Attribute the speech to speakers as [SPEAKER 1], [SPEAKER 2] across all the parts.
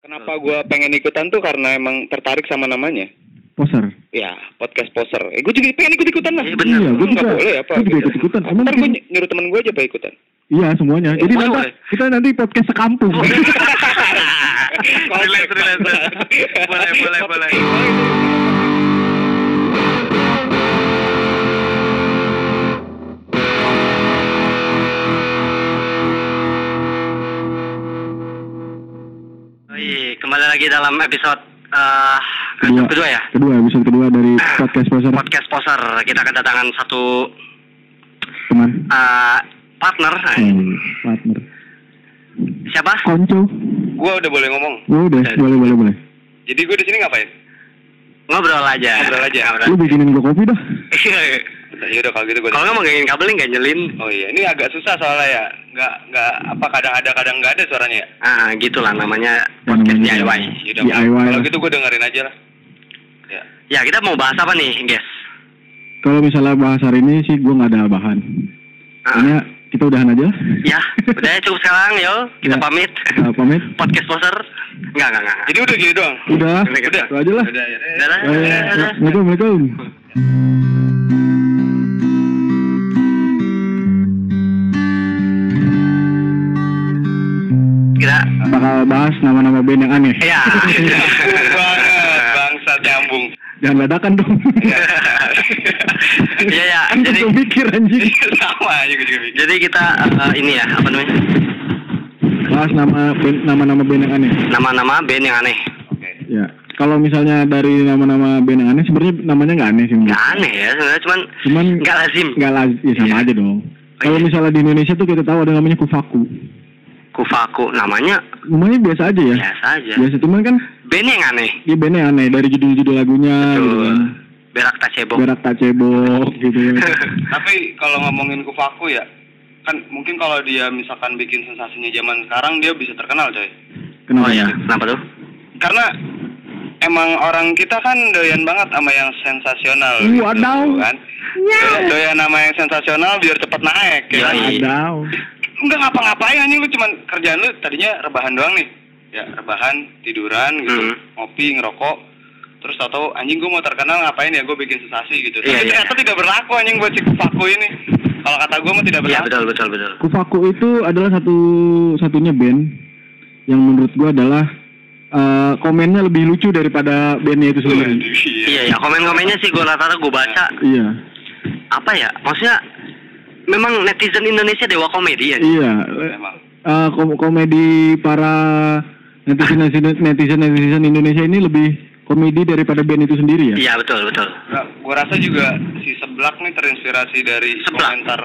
[SPEAKER 1] Kenapa gue pengen ikutan tuh karena emang tertarik sama namanya.
[SPEAKER 2] poser
[SPEAKER 1] Ya, podcast poser. Eh, gue juga pengen ikut-ikutan lah.
[SPEAKER 3] Iya, bener.
[SPEAKER 2] Iya, gua
[SPEAKER 1] Lu nggak
[SPEAKER 2] juga.
[SPEAKER 1] boleh apa?
[SPEAKER 2] Gua juga ikut-ikutan. Emang
[SPEAKER 1] Ntar
[SPEAKER 2] kita-
[SPEAKER 1] gue nyuruh temen gue aja pak ikutan.
[SPEAKER 2] iya semuanya jadi
[SPEAKER 3] Eh, Boleh,
[SPEAKER 2] nanti
[SPEAKER 3] boleh. Oh,
[SPEAKER 2] kita nanti podcast sekampung
[SPEAKER 3] Relax, relax, relax. Boleh, boleh, boleh. Oi, kembali lagi dalam episode eh, kedua, kedua ya
[SPEAKER 2] kedua episode kedua dari Iya. podcast poser
[SPEAKER 3] podcast poser kita kedatangan satu
[SPEAKER 2] teman
[SPEAKER 3] eh, partner
[SPEAKER 2] Hmm, partner
[SPEAKER 3] siapa
[SPEAKER 2] konco
[SPEAKER 1] Gue udah boleh ngomong.
[SPEAKER 2] Oh, udah
[SPEAKER 3] Dan-
[SPEAKER 2] boleh boleh boleh
[SPEAKER 1] Jadi gue di sini ngapain?
[SPEAKER 3] ngobrol aja Iya.
[SPEAKER 1] Ngobrol aja.
[SPEAKER 2] lu bikinin gua kopi dah
[SPEAKER 1] Ya udah kalau gitu gue.
[SPEAKER 3] kalau nggak mau ngangin kabel nggak nyelin
[SPEAKER 1] Oh iya, ini agak susah soalnya ya. Nggak nggak apa kadang ada kadang nggak ada suaranya. ya.
[SPEAKER 3] ah gitulah namanya
[SPEAKER 2] Ya,
[SPEAKER 3] podcast
[SPEAKER 2] namanya
[SPEAKER 3] DIY
[SPEAKER 1] Ya udah,
[SPEAKER 2] DIY
[SPEAKER 1] Kalau
[SPEAKER 2] lah.
[SPEAKER 1] gitu gue dengerin aja lah. Ya.
[SPEAKER 3] ya kita mau bahas apa nih guys
[SPEAKER 2] kalau misalnya bahas hari ini sih gua nggak ada bahan
[SPEAKER 3] Ah.
[SPEAKER 2] Kayaknya kita udahan aja
[SPEAKER 3] ya udah cukup sekarang yo kita
[SPEAKER 2] Ya.
[SPEAKER 3] pamit
[SPEAKER 2] Iya. Kita pamit
[SPEAKER 3] podcast poser nggak nggak nggak
[SPEAKER 1] Jadi udah gini doang.
[SPEAKER 2] udah
[SPEAKER 3] Udah.
[SPEAKER 2] itu aja lah
[SPEAKER 1] Udah, ya.
[SPEAKER 3] Udah lah,
[SPEAKER 2] Eh,
[SPEAKER 3] udah, udah.
[SPEAKER 2] Assalamualaikum Assalamualaikum
[SPEAKER 3] kita
[SPEAKER 2] bakal bahas nama-nama band yang aneh
[SPEAKER 3] ya
[SPEAKER 1] Nyambung banget, bangsa nyambung.
[SPEAKER 2] jangan dadakan dong
[SPEAKER 3] Iya, iya.
[SPEAKER 2] Kan gua
[SPEAKER 3] Jadi-
[SPEAKER 2] belum mikir anjing
[SPEAKER 1] Sama aja gue juga mikir.
[SPEAKER 3] jadi kita eh, ini ya apa namanya
[SPEAKER 2] bahas nama band- nama-nama band yang aneh
[SPEAKER 3] nama-nama band yang aneh
[SPEAKER 1] Oke.
[SPEAKER 2] ya kalau misalnya dari nama-nama band yang aneh sebenarnya namanya nggak aneh sih menurut
[SPEAKER 3] nggak aneh ya sebenarnya cuman
[SPEAKER 2] Cuman
[SPEAKER 3] nggak lazim
[SPEAKER 2] Hmm. nggak lazim ya sama
[SPEAKER 3] Iya.
[SPEAKER 2] aja dong. Kalau
[SPEAKER 3] iya.
[SPEAKER 2] misalnya di Indonesia tuh kita tahu ada namanya kufaku.
[SPEAKER 3] kufaku namanya
[SPEAKER 2] Namanya biasa aja ya.
[SPEAKER 3] biasa aja
[SPEAKER 2] Biasa cuman kan
[SPEAKER 3] band yang aneh
[SPEAKER 2] dia bandnya aneh dari judul-judul lagunya gitu
[SPEAKER 3] Betul.
[SPEAKER 2] kan.
[SPEAKER 3] Hmm. berak tak cebok
[SPEAKER 2] Berak tak cebok gitu.
[SPEAKER 1] Tapi kalau ngomongin kufaku ya, kan mungkin kalau dia misalkan bikin sensasinya zaman sekarang dia bisa terkenal coy.
[SPEAKER 2] Kenapa?
[SPEAKER 3] oh ya kenapa tuh
[SPEAKER 1] Karena emang orang kita kan doyan banget sama yang sensasional. gitu,
[SPEAKER 2] Wadaw.
[SPEAKER 1] kan? Doyan- Doyan sama yang sensasional biar cepat naik. Ya. kan?
[SPEAKER 3] Yoi.
[SPEAKER 2] Ada.
[SPEAKER 1] Enggak ngapa-ngapain anjing lu cuman kerjaan lu tadinya rebahan doang nih. Ya, rebahan, tiduran gitu,
[SPEAKER 3] Hmm.
[SPEAKER 1] ngopi, ngerokok. Terus atau anjing gue mau terkenal ngapain ya gue bikin sensasi gitu. Tapi
[SPEAKER 3] Iya, iya.
[SPEAKER 1] ternyata tidak berlaku anjing buat si kufaku ini. Kalau kata gue mah tidak
[SPEAKER 3] iya
[SPEAKER 1] berlaku.
[SPEAKER 3] betul betul betul
[SPEAKER 2] Kufaku itu adalah satu satunya band yang menurut gua adalah eh, komennya lebih lucu daripada bandnya itu sendiri.
[SPEAKER 3] iya ya komen-komennya sih gue rata-rata gue baca
[SPEAKER 2] Iya,
[SPEAKER 3] apa ya maksudnya memang netizen Indonesia dewa komedi ya
[SPEAKER 2] iya.
[SPEAKER 1] Emang.
[SPEAKER 2] Eh, kom- komedi para netizen netizen netizen Indonesia ini lebih komedi daripada band itu sendiri ya.
[SPEAKER 3] iya betul betul
[SPEAKER 1] Nah, gue rasa juga si Seblak nih terinspirasi dari
[SPEAKER 3] Seblak.
[SPEAKER 1] komentar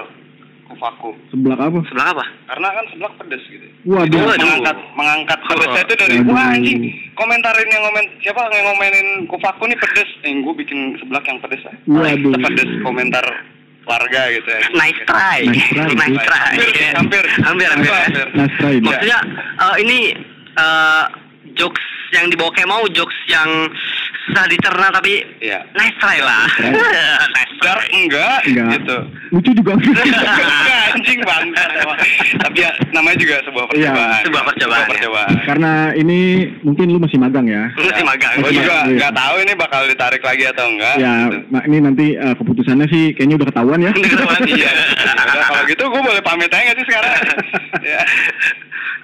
[SPEAKER 1] kufaku.
[SPEAKER 2] Sebelah apa?
[SPEAKER 3] sebelah apa
[SPEAKER 1] Karena kan Seblak pedes gitu.
[SPEAKER 2] Waduh.
[SPEAKER 1] Dia
[SPEAKER 3] Waduh.
[SPEAKER 1] mengangkat mengangkat
[SPEAKER 3] Oh.
[SPEAKER 1] pedesnya itu dari
[SPEAKER 2] Waduh.
[SPEAKER 1] wah anjing komentarin yang komen siapa yang ngomenin kufaku nih pedes. Eh, gue bikin Seblak yang pedes lah.
[SPEAKER 2] Waduh.
[SPEAKER 1] Pedes komentar warga gitu ya.
[SPEAKER 3] nice try
[SPEAKER 2] Nice try.
[SPEAKER 3] nice try Iya.
[SPEAKER 1] Hampir,
[SPEAKER 3] hampir
[SPEAKER 1] hampir.
[SPEAKER 3] hampir
[SPEAKER 2] Nah,
[SPEAKER 1] Hampir.
[SPEAKER 2] Nice try.
[SPEAKER 3] maksudnya eh, ini eh, jokes yang dibawa kayak mau jokes yang susah dicerna tapi
[SPEAKER 1] Iya.
[SPEAKER 3] nice try lah nice try
[SPEAKER 1] Dark enggak,
[SPEAKER 2] Enggak.
[SPEAKER 1] gitu.
[SPEAKER 2] Lucu juga.
[SPEAKER 1] Enggak, anjing bangga. emang. Tapi ya namanya juga sebuah
[SPEAKER 2] Iya,
[SPEAKER 1] percobaan.
[SPEAKER 3] sebuah percobaan, ya.
[SPEAKER 1] percobaan.
[SPEAKER 2] Karena ini mungkin lu masih magang ya.
[SPEAKER 3] Lu sih magang
[SPEAKER 1] Gue
[SPEAKER 3] gua juga
[SPEAKER 1] juga
[SPEAKER 2] Iya.
[SPEAKER 1] nggak tahu ini bakal ditarik lagi atau enggak.
[SPEAKER 2] Ya,
[SPEAKER 1] gitu.
[SPEAKER 2] mak ini nanti eh, keputusannya sih kayaknya udah ketahuan ya.
[SPEAKER 3] Udah ketahuan,
[SPEAKER 1] Iya. Yaudah, kalau gitu gue boleh pamit aja nggak sih sekarang? ya.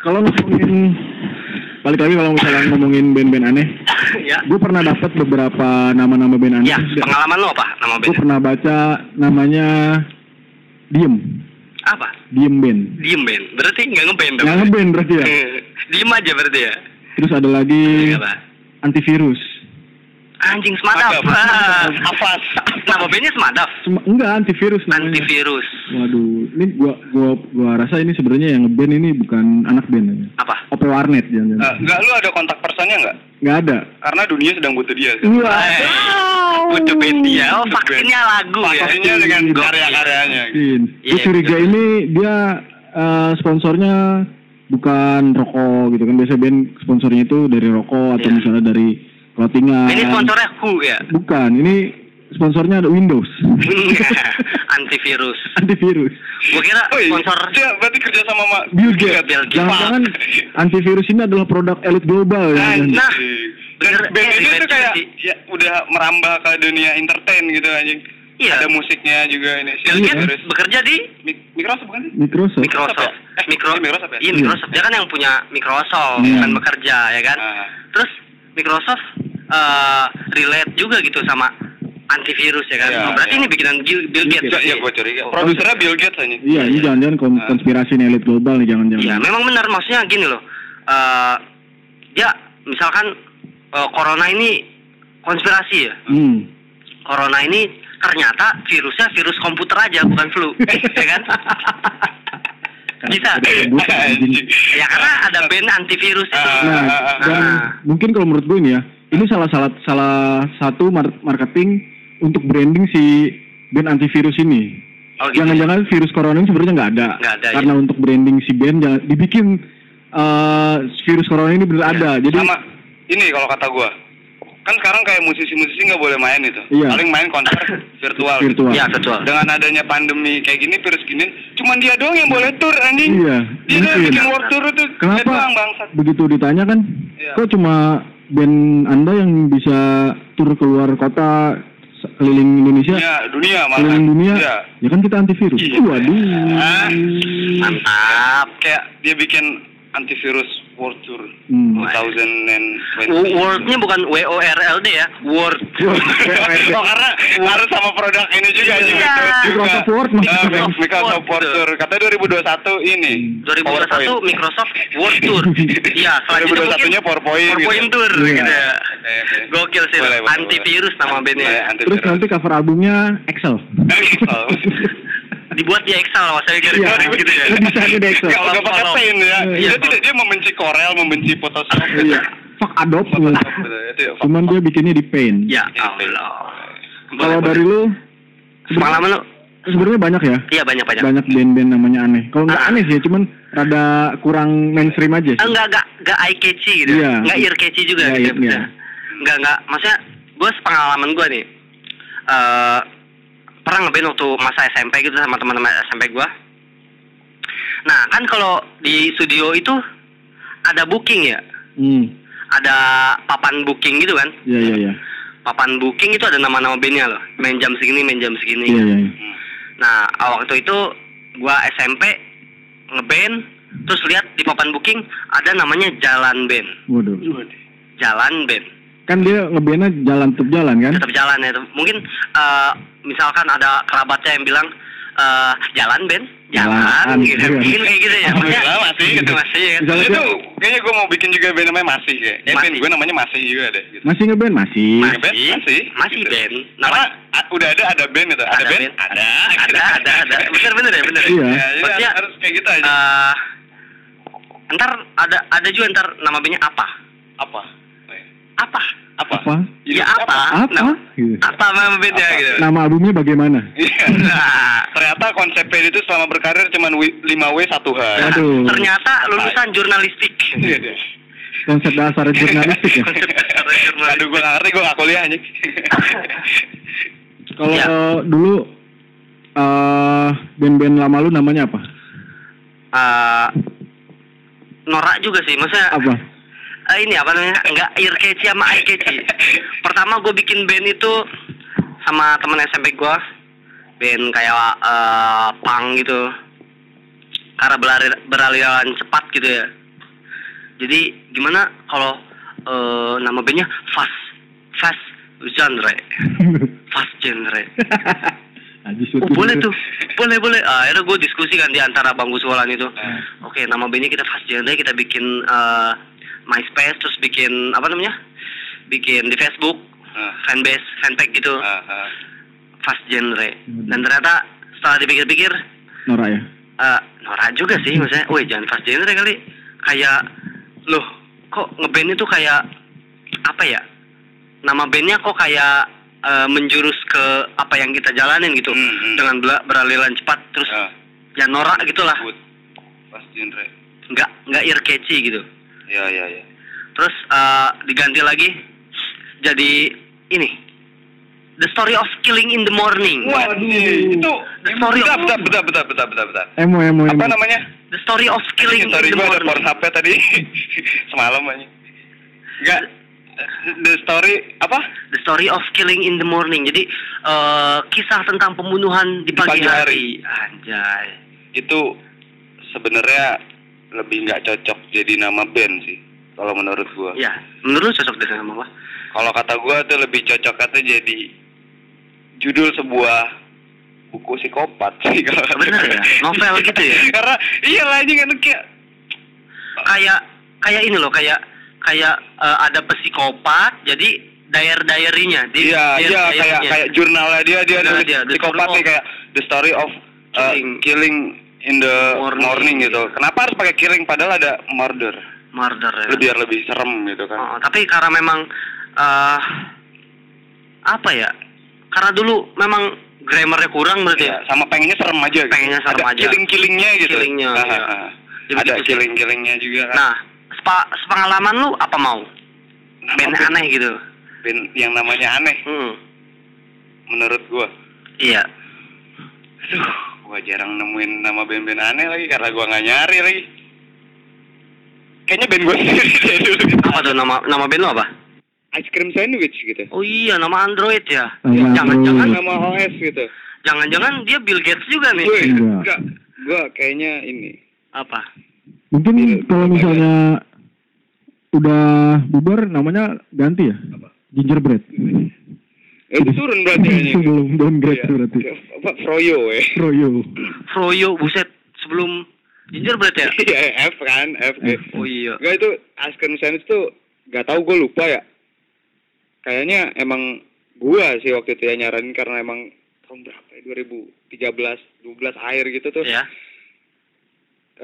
[SPEAKER 2] kalau ngomongin balik lagi kalau misalnya ngomongin band-band aneh,
[SPEAKER 3] ya
[SPEAKER 2] gue pernah dapat beberapa nama-nama band aneh.
[SPEAKER 3] ya pengalaman lo apa nama
[SPEAKER 2] gue
[SPEAKER 3] band
[SPEAKER 2] pernah baca namanya Diem,
[SPEAKER 3] apa
[SPEAKER 2] Diem Band.
[SPEAKER 3] diem band berarti nggak ngeband dong
[SPEAKER 2] Yang ngeband berarti ya.
[SPEAKER 3] Eh, diem aja berarti ya
[SPEAKER 2] Terus ada
[SPEAKER 1] Iya.
[SPEAKER 2] lagi
[SPEAKER 3] Apa?
[SPEAKER 2] antivirus.
[SPEAKER 3] anjing semadaf
[SPEAKER 1] Madaf.
[SPEAKER 3] Ah.
[SPEAKER 1] Hafaz.
[SPEAKER 3] nama bandnya semadaf
[SPEAKER 2] Sem- enggak antivirus
[SPEAKER 1] Iya.
[SPEAKER 2] namanya.
[SPEAKER 3] antivirus
[SPEAKER 2] Waduh, ini gua gua gua rasa ini sebenarnya yang ngeband ini bukan anak band ya.
[SPEAKER 3] apa
[SPEAKER 2] OP warnet jangan-jangan.
[SPEAKER 1] Eh, Enggak, lu ada kontak personnya enggak?
[SPEAKER 2] Enggak ada.
[SPEAKER 1] Karena dunia sedang butuh dia. Gitu.
[SPEAKER 2] Wah.
[SPEAKER 3] Eh, butuh band dia oh vaksinnya lagu ya
[SPEAKER 1] Pastinya dengan
[SPEAKER 3] Gokil.
[SPEAKER 1] karya-karyanya. gitu.
[SPEAKER 2] Iya,
[SPEAKER 3] Iya,
[SPEAKER 2] curiga
[SPEAKER 3] betul.
[SPEAKER 2] ini dia eh, sponsornya bukan rokok gitu kan biasa band sponsornya itu dari rokok atau
[SPEAKER 3] Iya.
[SPEAKER 2] misalnya dari clothingan.
[SPEAKER 3] ini sponsornya Who ya
[SPEAKER 2] Bukan, ini sponsornya ada Windows.
[SPEAKER 3] Iya. antivirus
[SPEAKER 2] Antivirus.
[SPEAKER 3] gue kira
[SPEAKER 1] Oh, iya.
[SPEAKER 3] sponsor
[SPEAKER 1] Dia berarti kerja sama Ma-
[SPEAKER 2] Bill Gates.
[SPEAKER 3] Iya, Bill Gates. Iya.
[SPEAKER 2] Jangan-jangan
[SPEAKER 1] Pak.
[SPEAKER 2] antivirus ini adalah produk elit global. ya,
[SPEAKER 1] Nah,
[SPEAKER 2] jangan-jangan.
[SPEAKER 3] nah,
[SPEAKER 1] dan
[SPEAKER 3] bener,
[SPEAKER 1] band
[SPEAKER 3] eh,
[SPEAKER 1] ini tuh
[SPEAKER 3] revenge
[SPEAKER 1] kayak
[SPEAKER 3] sih.
[SPEAKER 1] ya udah merambah ke dunia entertain gitu anjing.
[SPEAKER 3] Iya.
[SPEAKER 1] Ada musiknya juga ini.
[SPEAKER 3] Bill
[SPEAKER 2] Iya.
[SPEAKER 3] Gates
[SPEAKER 1] Terus-
[SPEAKER 3] bekerja di
[SPEAKER 1] Mik- Microsoft bukan sih?
[SPEAKER 2] Microsoft.
[SPEAKER 3] Microsoft
[SPEAKER 1] Eh,
[SPEAKER 3] Micro-
[SPEAKER 1] iya, Microsoft ya?
[SPEAKER 3] iya Microsoft dia kan yang punya Microsoft
[SPEAKER 2] Iya.
[SPEAKER 3] bukan bekerja ya kan
[SPEAKER 1] Ah.
[SPEAKER 3] terus Microsoft eh, relate juga gitu sama antivirus ya kan
[SPEAKER 1] Iya,
[SPEAKER 3] Oh, berarti
[SPEAKER 1] iya.
[SPEAKER 3] ini bikinan Gil- Bill Gates ya?
[SPEAKER 1] Iya, iya gue curiga. Produsernya Bill Gates anjing.
[SPEAKER 2] Oh, Iya, ini jangan-jangan kon-
[SPEAKER 1] Ah.
[SPEAKER 2] konspirasi nih elit global nih jangan-jangan.
[SPEAKER 3] Nah. Iya, memang benar maksudnya gini loh. Eh ya, misalkan eh, corona ini konspirasi ya.
[SPEAKER 2] Hmm.
[SPEAKER 3] Corona ini ternyata virusnya virus komputer aja, bukan flu, ya kan? Bisa.
[SPEAKER 1] Anjing.
[SPEAKER 3] Ya karena ada band antivirus itu.
[SPEAKER 1] Iya. Ah, ah,
[SPEAKER 2] Nah,
[SPEAKER 1] ah,
[SPEAKER 2] dan
[SPEAKER 3] ah.
[SPEAKER 2] mungkin kalau menurut gue ini ya, ini salah salah salah satu mar- marketing untuk branding si band antivirus ini.
[SPEAKER 3] Oh, gitu.
[SPEAKER 2] Jangan-jangan virus corona ini sebenarnya nggak ada.
[SPEAKER 3] Nggak ada,
[SPEAKER 1] iya.
[SPEAKER 2] Karena untuk branding si band jangan- dibikin eh, virus corona ini benar ada. Jadi
[SPEAKER 1] Iya. Sama ini kalau kata gua. Kan sekarang kayak musisi-musisi nggak boleh main itu.
[SPEAKER 2] Iya.
[SPEAKER 1] Paling main konser virtual. gitu.
[SPEAKER 2] virtual.
[SPEAKER 3] Ya, betul.
[SPEAKER 1] Dengan adanya pandemi kayak gini virus gini, cuman dia doang yang boleh tur anjing.
[SPEAKER 2] Iya,
[SPEAKER 1] Dia doang yang
[SPEAKER 2] mungkin.
[SPEAKER 1] bikin world tour itu. dia
[SPEAKER 2] Kenapa
[SPEAKER 1] doang, bangsat.
[SPEAKER 2] begitu ditanya kan,
[SPEAKER 1] Iya.
[SPEAKER 2] kok cuma band Anda yang bisa tur keluar kota se- keliling Indonesia,
[SPEAKER 1] Ya, dunia malah.
[SPEAKER 2] keliling dunia?
[SPEAKER 1] Iya.
[SPEAKER 2] Ya kan kita antivirus.
[SPEAKER 1] Iya.
[SPEAKER 2] Waduh.
[SPEAKER 1] Ah.
[SPEAKER 3] Mantap.
[SPEAKER 1] Kayak dia bikin antivirus world tour
[SPEAKER 2] Hmm.
[SPEAKER 1] 2020.
[SPEAKER 3] Wordnya bukan W O R L D ya, Word.
[SPEAKER 1] oh karena harus sama produk ini juga anjing.
[SPEAKER 3] Iya.
[SPEAKER 2] Microsoft Word maksudnya.
[SPEAKER 1] Eh, Microsoft, Microsoft Word
[SPEAKER 3] Gitu.
[SPEAKER 1] Tour. Katanya 2021 ini.
[SPEAKER 3] 2021 Microsoft World Tour. Iya, selanjutnya
[SPEAKER 1] 2021-nya
[SPEAKER 3] mungkin
[SPEAKER 1] PowerPoint. gitu.
[SPEAKER 3] PowerPoint Tour
[SPEAKER 2] Iya.
[SPEAKER 3] gitu ya.
[SPEAKER 1] Oke, Eh, oke.
[SPEAKER 3] Gokil sih,
[SPEAKER 1] Boleh, boleh,
[SPEAKER 3] antivirus
[SPEAKER 1] boleh.
[SPEAKER 3] nama bandnya.
[SPEAKER 1] Iya,
[SPEAKER 2] Terus
[SPEAKER 1] antivirus.
[SPEAKER 2] nanti cover albumnya Excel.
[SPEAKER 1] Excel.
[SPEAKER 3] Dibuat Eh, di Excel maksudnya
[SPEAKER 2] Iya,
[SPEAKER 3] garis-garis gitu ya.
[SPEAKER 2] lo bisa aja di Excel.
[SPEAKER 1] Kalau nggak pakai
[SPEAKER 3] Tolong. Ah,
[SPEAKER 1] Paint ya.
[SPEAKER 2] Iya.
[SPEAKER 1] Dia tidak dia membenci Corel, membenci Photoshop. gitu.
[SPEAKER 2] Iya. Fuck Adobe.
[SPEAKER 1] Photoshop gitu. Itu ya,
[SPEAKER 2] Iya. Cuman dia bikinnya di Paint.
[SPEAKER 3] Ya Allah.
[SPEAKER 2] Kalau dari lu
[SPEAKER 3] semalam lu,
[SPEAKER 2] sebenarnya banyak ya.
[SPEAKER 3] iya banyak banyak.
[SPEAKER 2] Banyak band-band namanya aneh. Kalau nggak
[SPEAKER 3] Ah.
[SPEAKER 2] aneh sih, cuman rada kurang mainstream aja sih.
[SPEAKER 3] Enggak enggak enggak eye catchy gitu.
[SPEAKER 2] Iya.
[SPEAKER 3] Enggak ear catchy juga
[SPEAKER 2] Iya,
[SPEAKER 3] gitu.
[SPEAKER 2] iya.
[SPEAKER 3] bener. Enggak enggak maksudnya gue sepengalaman gue nih. Eh pernah ngeband waktu masa SMP gitu sama teman-teman SMP gue. Nah, kan kalau di studio itu ada booking ya.
[SPEAKER 2] Hmm.
[SPEAKER 3] Ada papan booking gitu kan.
[SPEAKER 2] Iya, iya, iya.
[SPEAKER 3] Papan booking itu ada nama-nama bandnya loh. Main jam segini, main jam segini.
[SPEAKER 2] Iya, iya. iya.
[SPEAKER 1] Hmm.
[SPEAKER 3] Nah, waktu itu gua SMP ngeband terus lihat di papan booking ada namanya Jalan Band.
[SPEAKER 2] Waduh.
[SPEAKER 3] Jalan Band.
[SPEAKER 2] Kan dia ngebandnya jalan tetap jalan kan?
[SPEAKER 3] Tetap jalan ya. Mungkin eh, misalkan ada kerabatnya yang bilang eh, jalan band, jalan,
[SPEAKER 2] Jalan,
[SPEAKER 3] gitu.
[SPEAKER 2] iya.
[SPEAKER 3] Mungkin kayak gitu ya. Maksudnya,
[SPEAKER 1] Alhamdulillah, masih gitu.
[SPEAKER 3] masih ya.
[SPEAKER 2] Jalan-
[SPEAKER 1] Itu kayaknya gue mau bikin juga band namanya Masih ya. Kayak
[SPEAKER 3] Masih.
[SPEAKER 1] band gue namanya Masih juga deh. Gitu.
[SPEAKER 2] Masih ngeband? Masih.
[SPEAKER 3] Masih.
[SPEAKER 1] Band Masih.
[SPEAKER 3] Masih
[SPEAKER 1] gitu.
[SPEAKER 3] band.
[SPEAKER 1] Karena
[SPEAKER 3] Namanya
[SPEAKER 1] a- udah ada ada band itu. Ada,
[SPEAKER 3] Ada
[SPEAKER 1] band?
[SPEAKER 3] band. Ada, ada, ada. Bener, bener ya, bener.
[SPEAKER 2] Iya.
[SPEAKER 1] Ya, jadi
[SPEAKER 3] Maksudnya,
[SPEAKER 1] harus kayak gitu aja.
[SPEAKER 3] eh, ntar ada ada juga ntar nama bandnya apa?
[SPEAKER 1] apa? Iya,
[SPEAKER 3] Apa?
[SPEAKER 1] Apa?
[SPEAKER 2] Apa?
[SPEAKER 3] Ya
[SPEAKER 1] Hidup
[SPEAKER 3] apa?
[SPEAKER 2] Apa?
[SPEAKER 3] Nah,
[SPEAKER 2] Gitu.
[SPEAKER 3] apa nama bandnya
[SPEAKER 1] Apa?
[SPEAKER 3] gitu?
[SPEAKER 2] Nama albumnya bagaimana?
[SPEAKER 1] Iya.
[SPEAKER 3] Nah,
[SPEAKER 1] Ternyata konsep band itu selama berkarir cuma 5W 1H.
[SPEAKER 2] Aduh.
[SPEAKER 3] ternyata lulusan jurnalistik.
[SPEAKER 1] Iya, iya.
[SPEAKER 2] Konsep dasar jurnalistik
[SPEAKER 3] Iya.
[SPEAKER 2] ya.
[SPEAKER 1] Aduh, gue gak ngerti, gue gak kuliah anjing.
[SPEAKER 2] Kalau
[SPEAKER 3] Iya.
[SPEAKER 2] dulu eh band-band lama lu namanya apa?
[SPEAKER 3] Eh, norak juga sih, maksudnya
[SPEAKER 2] Apa?
[SPEAKER 3] eh, ini apa namanya? Enggak ear catchy sama eye catchy. Pertama gue bikin band itu sama temen SMP gue, band kayak eh punk gitu, karena berlari, beraliran cepat gitu ya. Jadi gimana kalau eh, nama bandnya fast, fast genre, fast genre.
[SPEAKER 2] Aji
[SPEAKER 3] Oh,
[SPEAKER 2] Sutu.
[SPEAKER 3] boleh tuh, boleh boleh. Ah, akhirnya gue diskusi kan di antara Bang Gusualan itu. Oke, nama bandnya kita fast genre, kita bikin eh, MySpace, terus bikin apa namanya? Bikin di Facebook,
[SPEAKER 1] Ah.
[SPEAKER 3] fanbase, fanpage gitu,
[SPEAKER 1] Ah, Hmm. ah.
[SPEAKER 3] fast genre. Dan ternyata setelah dipikir-pikir,
[SPEAKER 2] Norak ya.
[SPEAKER 3] eh norak juga sih maksudnya. Woi, jangan fast genre kali. Kayak, loh, kok ngeband itu kayak apa ya? Nama bandnya kok kayak eh, menjurus ke apa yang kita jalanin gitu,
[SPEAKER 1] Hmm, hmm.
[SPEAKER 3] dengan bela- beraliran cepat terus
[SPEAKER 1] Ah,
[SPEAKER 3] ya norak gitulah
[SPEAKER 1] good. Pas genre.
[SPEAKER 3] nggak nggak ear catchy gitu
[SPEAKER 1] Ya, ya, ya.
[SPEAKER 3] terus eh, diganti lagi jadi ini The Story of Killing in the Morning.
[SPEAKER 1] Waduh, itu
[SPEAKER 3] Sorry,
[SPEAKER 1] bentar,
[SPEAKER 3] aku-
[SPEAKER 1] bentar, bentar, bentar, bentar, bentar, bentar.
[SPEAKER 2] Emo emo emo.
[SPEAKER 1] Apa namanya?
[SPEAKER 3] The Story of Killing
[SPEAKER 1] Sorry,
[SPEAKER 3] in the
[SPEAKER 1] gue ada
[SPEAKER 3] Morning.
[SPEAKER 1] Pornhub-nya tadi semalam aja. Enggak, the story apa?
[SPEAKER 3] The Story of Killing in the Morning. Jadi eh, kisah tentang pembunuhan
[SPEAKER 1] Di
[SPEAKER 3] di pagi,
[SPEAKER 1] pagi
[SPEAKER 3] hari. Anjay.
[SPEAKER 1] Itu sebenarnya lebih nggak cocok jadi nama band sih, kalau menurut gua.
[SPEAKER 3] Ya, menurut lu cocok dengan nama apa?
[SPEAKER 1] Kalau kata gua tuh lebih cocok kata jadi judul sebuah buku psikopat sih kalau kata
[SPEAKER 3] Bener
[SPEAKER 1] gua.
[SPEAKER 3] ya? Novel gitu ya?
[SPEAKER 1] Karena iyalah anjing kan kayak
[SPEAKER 3] Kayak kayak ini loh, kayak kayak eh, ada psikopat. Jadi diary diarinya.
[SPEAKER 1] Iya, iya kayak kayak jurnalnya dia dia
[SPEAKER 3] Jurnal
[SPEAKER 1] nulis
[SPEAKER 3] dia, The
[SPEAKER 1] psikopat
[SPEAKER 3] Story
[SPEAKER 1] nih
[SPEAKER 3] of-
[SPEAKER 1] kayak the story of uh,
[SPEAKER 3] Killing.
[SPEAKER 1] killing. in the
[SPEAKER 3] Morning.
[SPEAKER 1] morning, gitu. Kenapa harus pakai killing padahal ada murder?
[SPEAKER 3] murder. ya.
[SPEAKER 1] Biar lebih serem gitu
[SPEAKER 3] Oh,
[SPEAKER 1] kan.
[SPEAKER 3] tapi karena memang eh apa ya? Karena dulu memang grammarnya kurang berarti
[SPEAKER 1] Iya,
[SPEAKER 3] ya.
[SPEAKER 1] sama pengennya serem aja gitu.
[SPEAKER 3] Pengennya serem
[SPEAKER 1] ada
[SPEAKER 3] aja.
[SPEAKER 1] Killing-killingnya gitu.
[SPEAKER 3] Killing-nya,
[SPEAKER 1] Ah,
[SPEAKER 3] iya.
[SPEAKER 1] ah, ah. Ada
[SPEAKER 3] Jadi begitu sih.
[SPEAKER 1] killing-killingnya juga kan.
[SPEAKER 3] Nah, sepa, sepengalaman lu apa mau?
[SPEAKER 1] Nah,
[SPEAKER 3] Band
[SPEAKER 1] apa
[SPEAKER 3] aneh gitu.
[SPEAKER 1] band yang namanya aneh
[SPEAKER 3] Hmm.
[SPEAKER 1] menurut gua.
[SPEAKER 3] Iya.
[SPEAKER 1] Aduh, gua jarang nemuin nama band-band aneh lagi karena gua nggak nyari lagi. Kayaknya band gua sendiri deh dulu. gitu.
[SPEAKER 3] Apa tuh nama nama band lu apa?
[SPEAKER 1] Ice cream sandwich gitu.
[SPEAKER 3] Oh iya, nama Android ya.
[SPEAKER 2] Nama
[SPEAKER 3] Jangan-jangan
[SPEAKER 2] Android.
[SPEAKER 1] nama OS gitu.
[SPEAKER 3] jangan-jangan dia Bill Gates juga nih.
[SPEAKER 1] Gue
[SPEAKER 2] Enggak.
[SPEAKER 1] enggak. Gue kayaknya ini.
[SPEAKER 3] Apa?
[SPEAKER 2] Mungkin
[SPEAKER 1] Iya,
[SPEAKER 2] kalau
[SPEAKER 1] iya.
[SPEAKER 2] misalnya udah bubar namanya ganti ya? Gingerbread.
[SPEAKER 1] Eh, itu turun berarti
[SPEAKER 3] iya,
[SPEAKER 1] kayaknya.
[SPEAKER 2] Sebelum downgrade Iya, tuh berarti.
[SPEAKER 1] Iya. Apa Froyo eh.
[SPEAKER 2] Royo.
[SPEAKER 3] Froyo buset sebelum Gingerbread ya?
[SPEAKER 1] Iya, F kan, F. eh.
[SPEAKER 3] Oh iya.
[SPEAKER 1] Enggak itu ice cream sandwich tuh enggak tahu gue lupa ya. Kayaknya emang gua sih waktu itu ya nyaranin karena emang tahun berapa ya 2013 12 akhir gitu tuh
[SPEAKER 3] Ya.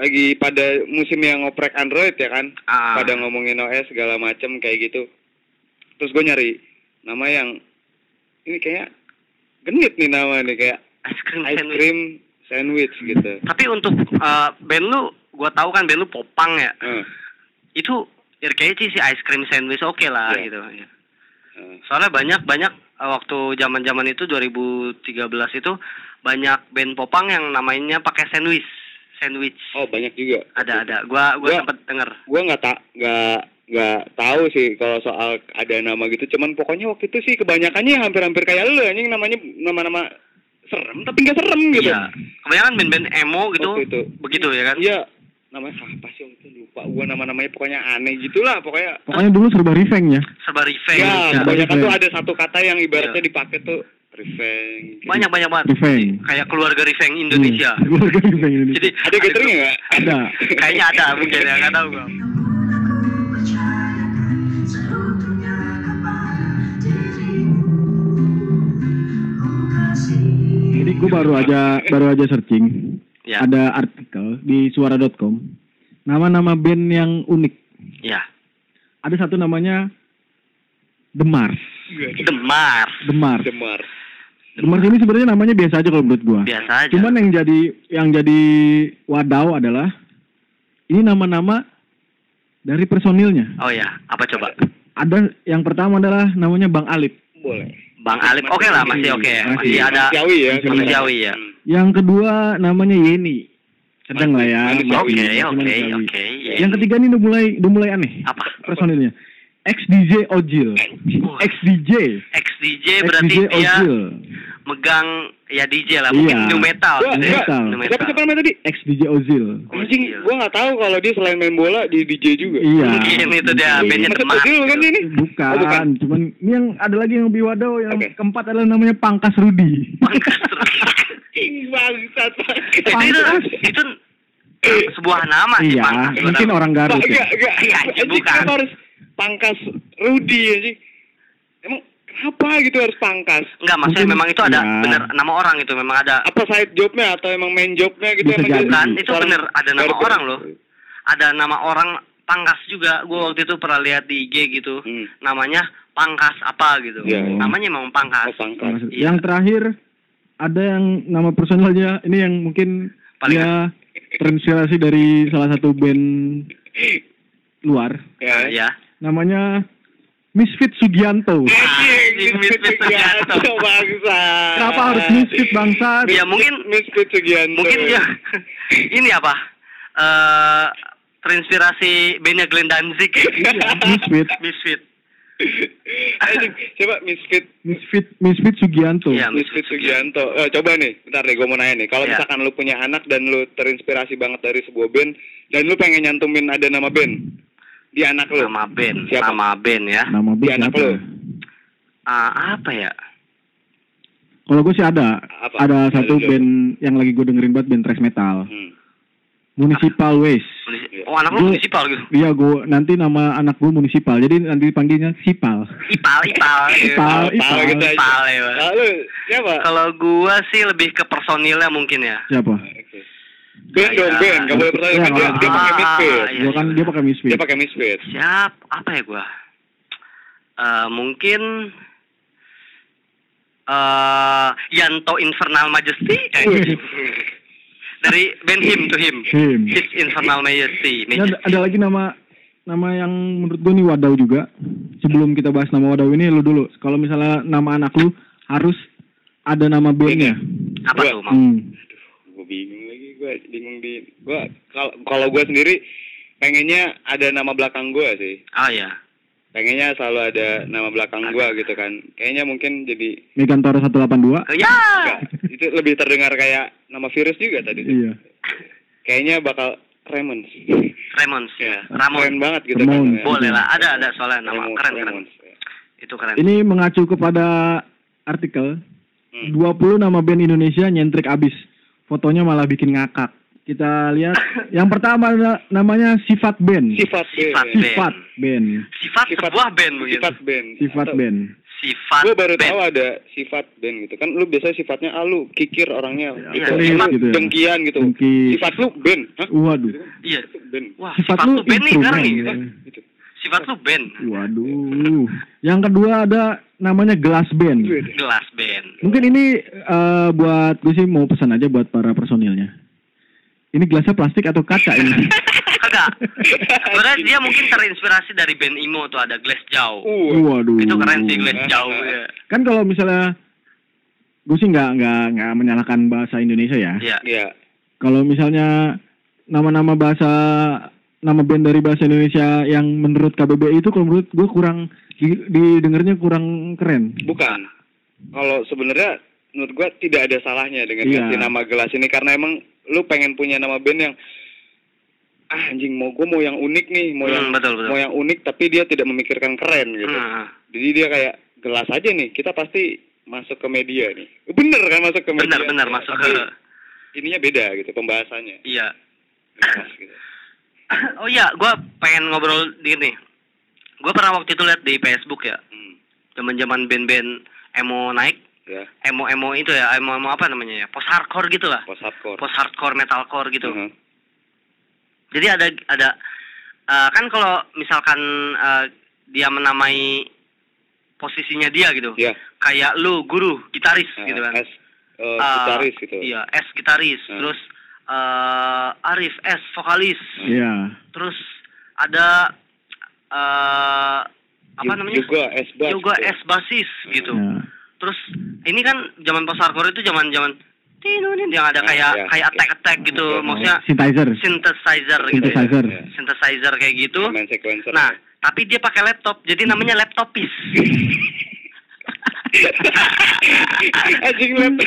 [SPEAKER 1] lagi pada musim yang ngoprek Android ya kan
[SPEAKER 3] Ah.
[SPEAKER 1] pada ngomongin OS segala macem kayak gitu terus gue nyari nama yang ini kayak genit nih nama nih kayak
[SPEAKER 3] Ice cream
[SPEAKER 1] ice
[SPEAKER 3] sandwich.
[SPEAKER 1] cream sandwich gitu
[SPEAKER 3] Tapi untuk eh, band lu, gua tahu kan band lu Popang ya.
[SPEAKER 1] Heeh,
[SPEAKER 3] Itu RKC sih ice cream sandwich oke lah
[SPEAKER 1] Iya.
[SPEAKER 3] gitu. ya.
[SPEAKER 1] heeh.
[SPEAKER 3] Soalnya banyak banyak eh, waktu zaman-zaman itu 2013 itu banyak band Popang yang namanya pakai sandwich. Sandwich.
[SPEAKER 1] oh Iya. banyak juga
[SPEAKER 3] Ada ada. Gua gua
[SPEAKER 1] Gua-
[SPEAKER 3] sempet denger.
[SPEAKER 1] gue nggak tak nggak nggak tahu sih kalau soal ada nama gitu cuman pokoknya waktu itu sih kebanyakannya yang hampir-hampir kayak lu anjing namanya nama-nama serem tapi nggak serem gitu
[SPEAKER 3] Iya. Kebanyakan band-band emo gitu.
[SPEAKER 1] Hmm. Waktu itu.
[SPEAKER 3] Begitu ya kan?
[SPEAKER 1] iya namanya apa sih waktu itu lupa gue nama-namanya pokoknya aneh gitulah pokoknya
[SPEAKER 2] Pokoknya dulu serba revenge ya.
[SPEAKER 3] Serba revenge.
[SPEAKER 1] Ya,
[SPEAKER 3] ya.
[SPEAKER 1] kebanyakan
[SPEAKER 2] Revenge.
[SPEAKER 1] tuh ada satu kata yang ibaratnya dipakai tuh revenge.
[SPEAKER 3] Iya. Banyak banyak banget.
[SPEAKER 2] Revenge.
[SPEAKER 3] Kayak keluarga revenge Indonesia.
[SPEAKER 2] Keluarga revenge Iya, Indonesia.
[SPEAKER 3] Jadi
[SPEAKER 1] Hmm. Ada gathering ya? Hmm. nggak?
[SPEAKER 2] Ada.
[SPEAKER 3] Kayaknya ada mungkin ya, nggak tahu gua.
[SPEAKER 4] Kamu percayakan seluruhnya kepada dirimu Oh kasih
[SPEAKER 2] Jadi gue baru aja baru aja searching.
[SPEAKER 3] Ya.
[SPEAKER 2] Ada artikel di suara.com. Nama-nama band yang unik.
[SPEAKER 3] Ya.
[SPEAKER 2] Ada satu namanya The Mars.
[SPEAKER 3] Demar.
[SPEAKER 2] The Mars.
[SPEAKER 1] Demar.
[SPEAKER 2] The Mars ini sebenarnya namanya biasa aja kalau menurut gua.
[SPEAKER 3] Biasa aja.
[SPEAKER 2] Cuman yang jadi yang jadi wadau adalah ini nama-nama dari personilnya.
[SPEAKER 3] Oh ya, apa coba?
[SPEAKER 2] Ada yang pertama adalah namanya Bang Alip.
[SPEAKER 1] Boleh.
[SPEAKER 3] Bang Alif, oke lah, masih oke, masih,
[SPEAKER 2] Masih.
[SPEAKER 3] ada
[SPEAKER 1] Manusiawi ya.
[SPEAKER 3] manusiawi ya.
[SPEAKER 1] Hmm.
[SPEAKER 2] Yang kedua namanya Yeni. Sedang lah ya.
[SPEAKER 1] Manusiawi.
[SPEAKER 2] masih- masih
[SPEAKER 3] Oke, oke,
[SPEAKER 2] manusiawi.
[SPEAKER 3] oke, Yeni.
[SPEAKER 2] Yang ketiga ini udah mulai udah mulai aneh.
[SPEAKER 3] Apa?
[SPEAKER 2] Personilnya. Ex DJ Ojil.
[SPEAKER 3] Wah.
[SPEAKER 2] Ex DJ.
[SPEAKER 3] Ex
[SPEAKER 2] Ex
[SPEAKER 3] DJ berarti
[SPEAKER 2] DJ
[SPEAKER 3] dia
[SPEAKER 2] Ojil.
[SPEAKER 3] megang ya DJ lah, mungkin
[SPEAKER 2] Iya.
[SPEAKER 3] new metal,
[SPEAKER 1] Gua-
[SPEAKER 3] gitu ya,
[SPEAKER 2] metal.
[SPEAKER 3] new
[SPEAKER 1] Siapa siapa namanya tadi?
[SPEAKER 2] Ex DJ Ojil.
[SPEAKER 3] Oh,
[SPEAKER 1] Anjing,
[SPEAKER 3] iya.
[SPEAKER 1] gua nggak tahu kalau dia selain main bola di DJ juga.
[SPEAKER 2] Iya.
[SPEAKER 3] Mungkin itu dia bandnya
[SPEAKER 1] Masuk
[SPEAKER 3] Demar.
[SPEAKER 1] kecil kan
[SPEAKER 3] gitu.
[SPEAKER 1] ini?
[SPEAKER 2] Bukan,
[SPEAKER 1] Oh, bukan.
[SPEAKER 2] cuman ini yang ada lagi yang lebih wadau yang
[SPEAKER 1] Oke.
[SPEAKER 2] keempat adalah namanya Pangkas Rudi.
[SPEAKER 3] Pangkas terus.
[SPEAKER 1] Ih, Bangsat.
[SPEAKER 3] Itu- itu, itu sebuah nama sih,
[SPEAKER 2] iya,
[SPEAKER 3] Pangkas.
[SPEAKER 2] mungkin orang Garut ya.
[SPEAKER 1] Enggak, enggak.
[SPEAKER 3] Iya, anjing,
[SPEAKER 1] Anjing,
[SPEAKER 3] bukan.
[SPEAKER 1] kenapa harus pangkas Rudi anjing? Emang kenapa gitu harus pangkas?
[SPEAKER 3] Enggak, maksudnya
[SPEAKER 2] Mungkin-
[SPEAKER 3] memang itu ada
[SPEAKER 2] iya.
[SPEAKER 3] bener nama orang itu, memang ada
[SPEAKER 1] apa side jobnya atau emang main jobnya gitu
[SPEAKER 2] Bisa
[SPEAKER 1] emang
[SPEAKER 2] jadi.
[SPEAKER 1] dia
[SPEAKER 3] Bukan, itu
[SPEAKER 1] seorang
[SPEAKER 3] bener ada nama
[SPEAKER 1] gardener.
[SPEAKER 3] orang loh. Ada nama orang Pangkas juga. Gue waktu itu pernah lihat di IG gitu.
[SPEAKER 1] Hmm.
[SPEAKER 3] Namanya Pangkas apa gitu.
[SPEAKER 1] Iya, iya.
[SPEAKER 3] Namanya memang Pangkas.
[SPEAKER 1] Oh, pangkas.
[SPEAKER 2] Pangkas-
[SPEAKER 3] Iya.
[SPEAKER 2] Yang terakhir ada yang nama personalnya ini yang mungkin
[SPEAKER 3] Paling-
[SPEAKER 2] dia terinspirasi
[SPEAKER 1] Iya,
[SPEAKER 2] dari salah satu band luar
[SPEAKER 1] Ya,
[SPEAKER 3] ya.
[SPEAKER 2] namanya Misfit Sugianto.
[SPEAKER 3] Anjing, Misfit Sugianto.
[SPEAKER 1] Iya, bangsa.
[SPEAKER 2] Kenapa harus misfit, bangsa?
[SPEAKER 1] Mis-
[SPEAKER 3] Ya, mungkin-
[SPEAKER 1] Misfit Sugianto.
[SPEAKER 3] Mungkin ya. dia ini apa? Eh terinspirasi bandnya Glenn Danzig.
[SPEAKER 2] Iya, Misfit.
[SPEAKER 3] Misfit.
[SPEAKER 1] Anjing, Coba Misfit
[SPEAKER 2] Misfit Misfit Sugianto.
[SPEAKER 3] Iya.
[SPEAKER 1] Misfit Sugianto. Eh, coba nih, bentar deh, gue mau nanya nih. Kalau
[SPEAKER 3] Iya.
[SPEAKER 1] misalkan lu punya anak dan lu terinspirasi banget dari sebuah band, dan lu pengen nyantumin ada nama band di anak lu,
[SPEAKER 3] Nama band,
[SPEAKER 1] Siapa?
[SPEAKER 3] nama band ya.
[SPEAKER 2] Nama
[SPEAKER 1] di
[SPEAKER 2] band
[SPEAKER 1] anak
[SPEAKER 2] siapa?
[SPEAKER 1] lu,
[SPEAKER 3] Ah, apa ya?
[SPEAKER 2] Kalau gue sih ada,
[SPEAKER 1] Apa?
[SPEAKER 2] ada
[SPEAKER 1] Ada
[SPEAKER 2] satu
[SPEAKER 1] juga.
[SPEAKER 2] band yang lagi gue dengerin banget band thrash metal.
[SPEAKER 1] Hmm.
[SPEAKER 2] Municipal Waste.
[SPEAKER 3] Munisi- Oh, anak lu
[SPEAKER 2] Gua-
[SPEAKER 3] munisipal gitu.
[SPEAKER 2] Iya gue nanti nama anak gue municipal, jadi nanti dipanggilnya Sipal.
[SPEAKER 3] Ipal, ipal. gitu.
[SPEAKER 2] Ipal,
[SPEAKER 1] Pal- pal
[SPEAKER 2] Ipal.
[SPEAKER 1] gitu aja.
[SPEAKER 3] Ipal, ya, Pak.
[SPEAKER 1] Lalu siapa?
[SPEAKER 3] Kalau gua sih lebih ke personilnya mungkin ya.
[SPEAKER 2] Siapa?
[SPEAKER 1] Oke. Band dong
[SPEAKER 3] Iya.
[SPEAKER 1] band, gak boleh percaya
[SPEAKER 2] Iya,
[SPEAKER 1] kan dia,
[SPEAKER 2] nggak
[SPEAKER 1] dia pakai
[SPEAKER 3] apa-apa.
[SPEAKER 1] misfit,
[SPEAKER 3] Iya,
[SPEAKER 2] Gua kan
[SPEAKER 3] iya.
[SPEAKER 2] dia pakai Misfit.
[SPEAKER 1] dia pakai misfit.
[SPEAKER 3] Siap, apa ya gua? Eh mungkin eh Yanto Infernal Majesty
[SPEAKER 2] Iya.
[SPEAKER 3] eh, dari band Him to Him.
[SPEAKER 2] Him.
[SPEAKER 3] His Infernal Majesty.
[SPEAKER 2] Ini ada,
[SPEAKER 3] Majesty.
[SPEAKER 2] ada lagi nama nama yang menurut gue nih Wadau juga. Sebelum kita bahas nama Wadau ini lu dulu. Kalau misalnya nama anak lu harus ada nama bandnya.
[SPEAKER 3] Apa
[SPEAKER 1] Gua-
[SPEAKER 3] tuh, Mam?
[SPEAKER 2] Hmm.
[SPEAKER 1] Gue bingung lagi, gue bingung di, gue kalau kalau gue sendiri pengennya ada nama belakang gue sih.
[SPEAKER 3] Oh ya.
[SPEAKER 1] Pengennya selalu ada nama belakang gue gitu kan. Kayaknya mungkin jadi
[SPEAKER 2] Megan Toro 182.
[SPEAKER 3] Ya.
[SPEAKER 1] Enggak, itu lebih terdengar kayak nama virus juga tadi. tuh.
[SPEAKER 2] Iya.
[SPEAKER 1] Kayaknya bakal Raymond.
[SPEAKER 3] Raymond.
[SPEAKER 1] Ya, keren
[SPEAKER 3] Ramon.
[SPEAKER 1] banget gitu
[SPEAKER 2] Ramon.
[SPEAKER 1] kan.
[SPEAKER 3] Boleh lah, ada ada soalnya nama
[SPEAKER 1] Raymond-
[SPEAKER 3] keren kan. keren.
[SPEAKER 1] Raymond.
[SPEAKER 3] Itu keren.
[SPEAKER 2] Ini mengacu kepada artikel
[SPEAKER 1] Hmm.
[SPEAKER 2] 20 nama band Indonesia nyentrik abis. Fotonya malah bikin ngakak. Kita lihat yang pertama adalah namanya Sifat Band.
[SPEAKER 1] Sifat band.
[SPEAKER 3] Sifat band.
[SPEAKER 2] Sifat Band.
[SPEAKER 3] Sifat, sebuah band begitu.
[SPEAKER 1] Sifat band.
[SPEAKER 2] Sifat Band.
[SPEAKER 3] Sifat
[SPEAKER 1] Gue baru
[SPEAKER 3] band.
[SPEAKER 1] tahu ada sifat band gitu kan. Lu biasanya sifatnya ah, lu kikir orangnya
[SPEAKER 3] iya,
[SPEAKER 1] gitu.
[SPEAKER 3] pelit
[SPEAKER 1] Sifat
[SPEAKER 2] gitu ya.
[SPEAKER 1] dengkian gitu.
[SPEAKER 2] Dengki.
[SPEAKER 1] Sifat lu band. Hah?
[SPEAKER 2] Waduh.
[SPEAKER 3] Iya.
[SPEAKER 1] Band.
[SPEAKER 3] Wah,
[SPEAKER 2] Sifat
[SPEAKER 3] sifat,
[SPEAKER 2] lu
[SPEAKER 3] lu band nih sekarang nih.
[SPEAKER 2] instrumen.
[SPEAKER 1] Hah? Gitu.
[SPEAKER 3] Sifat lu band.
[SPEAKER 2] Waduh. Yang kedua ada namanya Glass Band.
[SPEAKER 1] Gitu.
[SPEAKER 3] Gelas band.
[SPEAKER 2] Mungkin ini eh, buat gue sih mau pesan aja buat para personilnya. Ini gelasnya plastik atau kaca ini?
[SPEAKER 3] Kagak. Sebenarnya dia mungkin terinspirasi dari band Imo tuh ada Glass Jauh.
[SPEAKER 1] Uh.
[SPEAKER 2] Waduh.
[SPEAKER 3] Itu keren sih Glass Jauh ya.
[SPEAKER 2] Kan kalau misalnya gue sih nggak nggak nggak menyalahkan bahasa Indonesia ya.
[SPEAKER 3] Iya.
[SPEAKER 1] Iya.
[SPEAKER 2] Kalau misalnya nama-nama bahasa nama band dari bahasa Indonesia yang menurut KBBI itu kalau menurut gue kurang di- didengarnya kurang keren.
[SPEAKER 1] Bukan. Kalau sebenarnya menurut gua tidak ada salahnya dengan
[SPEAKER 2] Iya.
[SPEAKER 1] kasih nama gelas ini karena emang lu pengen punya nama band yang ah, anjing mau gua mau yang unik nih, mau
[SPEAKER 3] Hmm,
[SPEAKER 1] yang
[SPEAKER 3] betul, betul.
[SPEAKER 1] mau yang unik tapi dia tidak memikirkan keren gitu.
[SPEAKER 3] Nah,
[SPEAKER 1] Jadi dia kayak gelas aja nih, kita pasti masuk ke media nih. Bener kan masuk ke media.
[SPEAKER 3] benar benar masuk ke
[SPEAKER 1] Tapi ininya beda gitu pembahasannya.
[SPEAKER 3] iya.
[SPEAKER 1] Gelas gitu.
[SPEAKER 3] Oh iya, gua pengen ngobrol dikit nih. Gua pernah waktu itu lihat di Facebook ya,
[SPEAKER 1] Hmm,
[SPEAKER 3] zaman-zaman band-band emo naik,
[SPEAKER 1] ya,
[SPEAKER 3] emo-emo itu ya, emo-emo apa namanya ya? Post hardcore gitu lah.
[SPEAKER 1] post hardcore.
[SPEAKER 3] Post hardcore metalcore gitu.
[SPEAKER 1] Mhm.
[SPEAKER 3] Jadi ada ada eh, kan kalau misalkan eh, dia menamai posisinya dia gitu.
[SPEAKER 1] Iya.
[SPEAKER 3] Kayak lu guru gitaris
[SPEAKER 1] Nah,
[SPEAKER 3] gitu kan.
[SPEAKER 1] as, eh,
[SPEAKER 3] Eh,
[SPEAKER 1] gitaris gitu.
[SPEAKER 3] Iya, S gitaris,
[SPEAKER 1] Hmm.
[SPEAKER 3] terus eh Arif S vokalis,
[SPEAKER 2] Iya.
[SPEAKER 3] terus ada eh apa
[SPEAKER 1] Ju-
[SPEAKER 3] namanya?
[SPEAKER 1] Juga S bass.
[SPEAKER 3] Juga
[SPEAKER 1] gitu.
[SPEAKER 3] S basis
[SPEAKER 1] Hmm.
[SPEAKER 3] gitu.
[SPEAKER 2] Iya.
[SPEAKER 3] Terus ini kan zaman post hardcore itu zaman-zaman tinunin yang ada
[SPEAKER 1] Ah,
[SPEAKER 3] kayak
[SPEAKER 1] iya.
[SPEAKER 3] kayak attack attack gitu,
[SPEAKER 1] Iya,
[SPEAKER 3] maksudnya
[SPEAKER 2] Synthesizer.
[SPEAKER 3] synthesizer gitu. ya.
[SPEAKER 2] Synthesizer.
[SPEAKER 1] Iya.
[SPEAKER 3] Synthesizer kayak gitu.
[SPEAKER 1] Main sequencer.
[SPEAKER 3] Nah, tapi dia pakai laptop, jadi namanya laptopis.
[SPEAKER 1] anjing laptop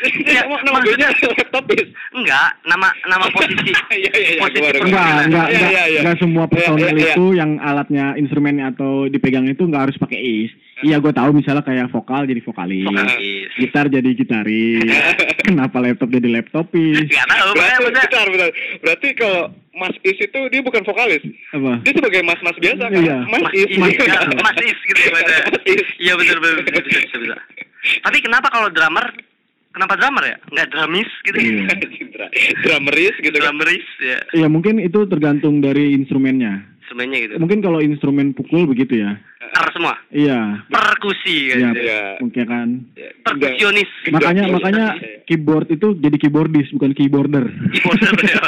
[SPEAKER 3] Ya,
[SPEAKER 1] Nama- nama
[SPEAKER 3] maksudnya-
[SPEAKER 1] bandnya laptopis
[SPEAKER 3] Enggak, nama nama posisi.
[SPEAKER 1] Iya, iya, iya,
[SPEAKER 3] posisi
[SPEAKER 1] gua baru-
[SPEAKER 2] Enggak,
[SPEAKER 3] personil.
[SPEAKER 2] enggak,
[SPEAKER 1] Iya,
[SPEAKER 2] enggak,
[SPEAKER 1] iya, iya.
[SPEAKER 2] enggak semua
[SPEAKER 1] Iya,
[SPEAKER 2] personil
[SPEAKER 1] iya, iya.
[SPEAKER 2] itu yang alatnya instrumen atau dipegang itu enggak harus pakai is. Iya, gue tahu misalnya kayak vokal jadi
[SPEAKER 1] Iya,
[SPEAKER 2] vokalis,
[SPEAKER 3] Vokalis.
[SPEAKER 2] gitar jadi gitaris. Kenapa laptop jadi
[SPEAKER 1] iya.
[SPEAKER 2] laptopis?
[SPEAKER 3] Enggak tahu, Oh, makanya
[SPEAKER 1] berarti
[SPEAKER 3] maksudnya-
[SPEAKER 1] bentar, bentar. berarti kalau Mas Is itu dia bukan vokalis
[SPEAKER 2] Apa?
[SPEAKER 1] dia sebagai Mas Mas biasa kan
[SPEAKER 2] Hmm. Iya.
[SPEAKER 1] Mas
[SPEAKER 3] Mas
[SPEAKER 1] Is
[SPEAKER 3] Is, ya, Mas Is gitu ya, Mas.
[SPEAKER 1] Mas Is.
[SPEAKER 3] Iya, betul, betul, betul, bisa, bisa, bisa. Tapi kenapa kalau drummer, kenapa drummer ya? Enggak drumis gitu.
[SPEAKER 2] Iya.
[SPEAKER 1] Anjing, dra- Drumeris gitu kan
[SPEAKER 3] Drummeris ya,
[SPEAKER 2] Ya mungkin itu tergantung dari instrumennya.
[SPEAKER 3] sebenarnya gitu.
[SPEAKER 2] Mungkin kalau instrumen pukul begitu ya.
[SPEAKER 3] Tar semua.
[SPEAKER 2] Iya.
[SPEAKER 3] Perkusi
[SPEAKER 2] Iya,
[SPEAKER 3] kan.
[SPEAKER 1] Iya.
[SPEAKER 2] mungkin kan.
[SPEAKER 1] Ya, enggak.
[SPEAKER 3] Perkusionis.
[SPEAKER 2] Makanya
[SPEAKER 1] Iya.
[SPEAKER 2] makanya keyboard itu jadi keyboardis bukan keyboarder.
[SPEAKER 3] Keyboarder ya.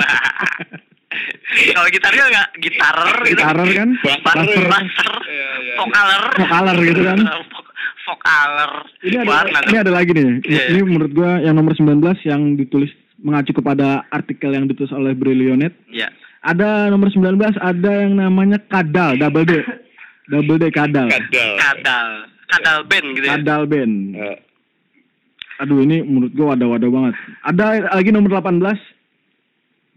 [SPEAKER 3] Kalau gitarnya nggak gitarer gitu.
[SPEAKER 2] Gitarer kan?
[SPEAKER 3] Baser,
[SPEAKER 2] Baser.
[SPEAKER 3] baser,
[SPEAKER 1] Iya, iya.
[SPEAKER 3] vokaler.
[SPEAKER 2] Vokaler gitu kan.
[SPEAKER 3] Vok- Vokaler.
[SPEAKER 2] Ini ada,
[SPEAKER 3] Warna
[SPEAKER 2] ini
[SPEAKER 3] tuh.
[SPEAKER 2] ada lagi nih.
[SPEAKER 3] Iya,
[SPEAKER 2] Ini menurut gua yang nomor 19 yang ditulis mengacu kepada artikel yang ditulis oleh Brilionet.
[SPEAKER 3] Iya.
[SPEAKER 2] Ada nomor 19 ada yang namanya Kadal Double D. Double D Kadal.
[SPEAKER 1] kadal
[SPEAKER 3] Kadal. Kadal band gitu ya.
[SPEAKER 2] Kadal band.
[SPEAKER 1] Eh,
[SPEAKER 2] Aduh ini menurut gua wadah-wadah banget. Ada lagi nomor 18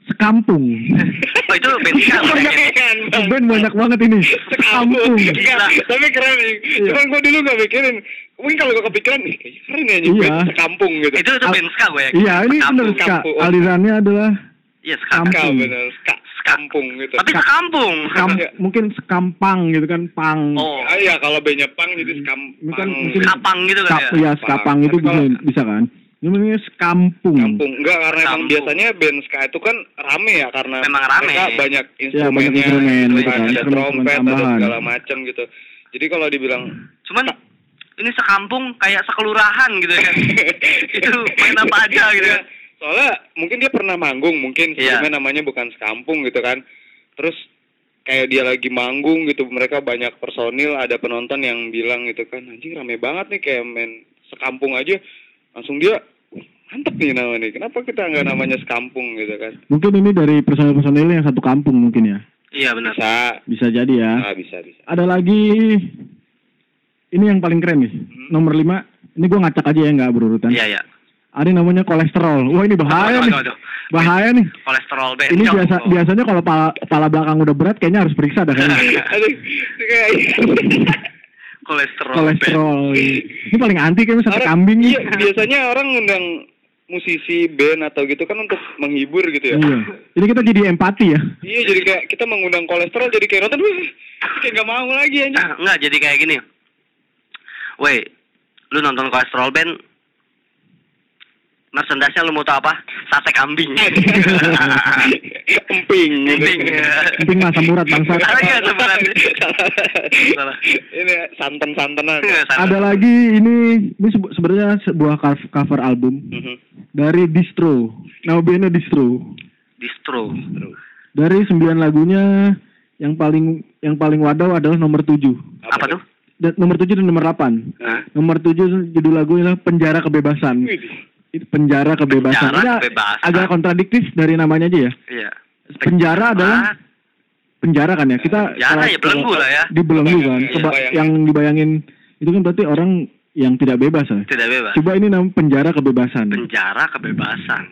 [SPEAKER 2] Sekampung. Eh,
[SPEAKER 3] Oh itu band siapa?
[SPEAKER 1] Keren, Bang.
[SPEAKER 2] Band banyak banget ini.
[SPEAKER 1] sekampung
[SPEAKER 2] Sekampung.
[SPEAKER 1] Enggak, tapi keren nih
[SPEAKER 2] Iya.
[SPEAKER 1] cuman gue dulu gak mikirin mungkin kalau gue kepikiran nih kayaknya keren ya
[SPEAKER 2] Iya.
[SPEAKER 1] nyebut sekampung gitu
[SPEAKER 3] Itu itu band ska gue ya.
[SPEAKER 2] Iya, ini bener
[SPEAKER 3] Sekampung.
[SPEAKER 2] Kak.
[SPEAKER 1] Sekampung.
[SPEAKER 2] Alirannya adalah
[SPEAKER 3] Iya ska.
[SPEAKER 2] Kampung.
[SPEAKER 1] Ska bener ska sekampung gitu
[SPEAKER 3] Tapi sekampung.
[SPEAKER 2] kam-
[SPEAKER 1] Iya.
[SPEAKER 2] mungkin sekampang gitu kan, pang.
[SPEAKER 3] Oh.
[SPEAKER 1] Ah, iya kalau bandnya pang jadi
[SPEAKER 2] Ini kan
[SPEAKER 1] sekampang
[SPEAKER 2] mungkin
[SPEAKER 3] Kapang gitu kan
[SPEAKER 2] Kap-
[SPEAKER 3] ya.
[SPEAKER 2] ya, sekapang
[SPEAKER 1] Tapi
[SPEAKER 2] itu bisa,
[SPEAKER 1] kalau-
[SPEAKER 2] bisa kan? Ini namanya sekampung.
[SPEAKER 1] kampung enggak karena emang
[SPEAKER 3] Hmm. Kampung.
[SPEAKER 1] biasanya band ska itu kan rame ya karena
[SPEAKER 3] Memang rame.
[SPEAKER 1] mereka banyak
[SPEAKER 2] Ya, banyak
[SPEAKER 1] instrumennya
[SPEAKER 2] instrumen,
[SPEAKER 1] gitu kan,
[SPEAKER 2] gitu kan,
[SPEAKER 1] ada
[SPEAKER 2] instrumen
[SPEAKER 1] trompet ada
[SPEAKER 2] tambahan.
[SPEAKER 1] segala macam gitu jadi kalau dibilang
[SPEAKER 3] Cuman
[SPEAKER 2] Iya.
[SPEAKER 3] ini sekampung kayak sekelurahan gitu ya. itu main apa aja gitu
[SPEAKER 1] Iya.
[SPEAKER 3] kan.
[SPEAKER 1] soalnya mungkin dia pernah manggung mungkin
[SPEAKER 3] Iya.
[SPEAKER 1] sebelumnya namanya bukan sekampung gitu kan terus kayak dia lagi manggung gitu mereka banyak personil ada penonton yang bilang gitu kan anjing rame banget nih kayak main sekampung aja langsung dia "Wih, mantep nih nama nih kenapa kita nggak namanya sekampung gitu kan
[SPEAKER 2] Mungkin ini dari personil-personil yang satu kampung mungkin ya.
[SPEAKER 3] Iya benar.
[SPEAKER 1] bisa
[SPEAKER 2] Bisa jadi ya.
[SPEAKER 1] ah, bisa bisa
[SPEAKER 2] Ada lagi ini yang paling keren nih. Nomor 5. Ini gua ngacak aja ya nggak berurutan.
[SPEAKER 3] Iya iya.
[SPEAKER 2] Ada yang namanya kolesterol. Wah, ini bahaya
[SPEAKER 3] Waduh,
[SPEAKER 2] nih.
[SPEAKER 3] waduh, waduh.
[SPEAKER 2] Bahaya nih.
[SPEAKER 3] Kolesterol
[SPEAKER 1] Eh,
[SPEAKER 3] band.
[SPEAKER 2] Ini
[SPEAKER 3] Ya
[SPEAKER 2] biasa
[SPEAKER 3] Allah.
[SPEAKER 2] biasanya kalau pala, pala belakang udah berat kayaknya harus periksa dah kayaknya.
[SPEAKER 1] Aduh, itu kayak iya.
[SPEAKER 3] kolesterol. band.
[SPEAKER 2] kolesterol. Ini paling anti kayaknya sate
[SPEAKER 1] eh. Orang-
[SPEAKER 2] kambing nih.
[SPEAKER 1] iya, biasanya orang ngundang musisi band atau gitu kan untuk menghibur gitu ya
[SPEAKER 2] Iya. Jadi kita jadi empati ya.
[SPEAKER 1] Iya jadi kayak kita mengundang kolesterol jadi kayak nonton wih kayak nggak mau lagi anjing.
[SPEAKER 3] Ah, enggak jadi kayak gini. Woi, lu nonton kolesterol band merchandise-nya lu mau tau apa? Sate kambing.
[SPEAKER 1] Emping. gitu.
[SPEAKER 3] Emping, ya.
[SPEAKER 2] Emping masa murad, bangsat.
[SPEAKER 3] Salah nggak sebenarnya? Salah. Iya,
[SPEAKER 1] Ini ya, santan-santanan. nah,
[SPEAKER 2] Ada lagi ini ini sebu- sebenarnya sebuah cov- cover album
[SPEAKER 1] Mhm.
[SPEAKER 2] dari Distro. Nama bandnya Distro.
[SPEAKER 3] distro.
[SPEAKER 2] Dari sembilan lagunya yang paling yang paling wadaw adalah nomor tujuh.
[SPEAKER 3] Apa tuh?
[SPEAKER 2] Dan, nomor tujuh dan nomor delapan.
[SPEAKER 3] Hah?
[SPEAKER 2] Nomor tujuh judul lagunya adalah Penjara Kebebasan.
[SPEAKER 1] Nah. Widih.
[SPEAKER 2] Itu Penjara Kebebasan.
[SPEAKER 3] Penjara
[SPEAKER 2] Ini a-
[SPEAKER 3] Kebebasan.
[SPEAKER 2] agak kontradiktif dari namanya aja ya.
[SPEAKER 3] Iya.
[SPEAKER 2] Penjara adalah penjara kan ya kita
[SPEAKER 3] Ah. Penjara
[SPEAKER 2] kalau-
[SPEAKER 3] ya, belenggu
[SPEAKER 2] kalau-
[SPEAKER 3] lah ya.
[SPEAKER 2] di belenggu kan
[SPEAKER 1] Iya,
[SPEAKER 2] Keba-
[SPEAKER 1] bayangin.
[SPEAKER 2] yang dibayangin itu kan berarti orang yang tidak bebas ya
[SPEAKER 3] tidak bebas.
[SPEAKER 2] coba ini namanya penjara kebebasan
[SPEAKER 3] Penjara kebebasan.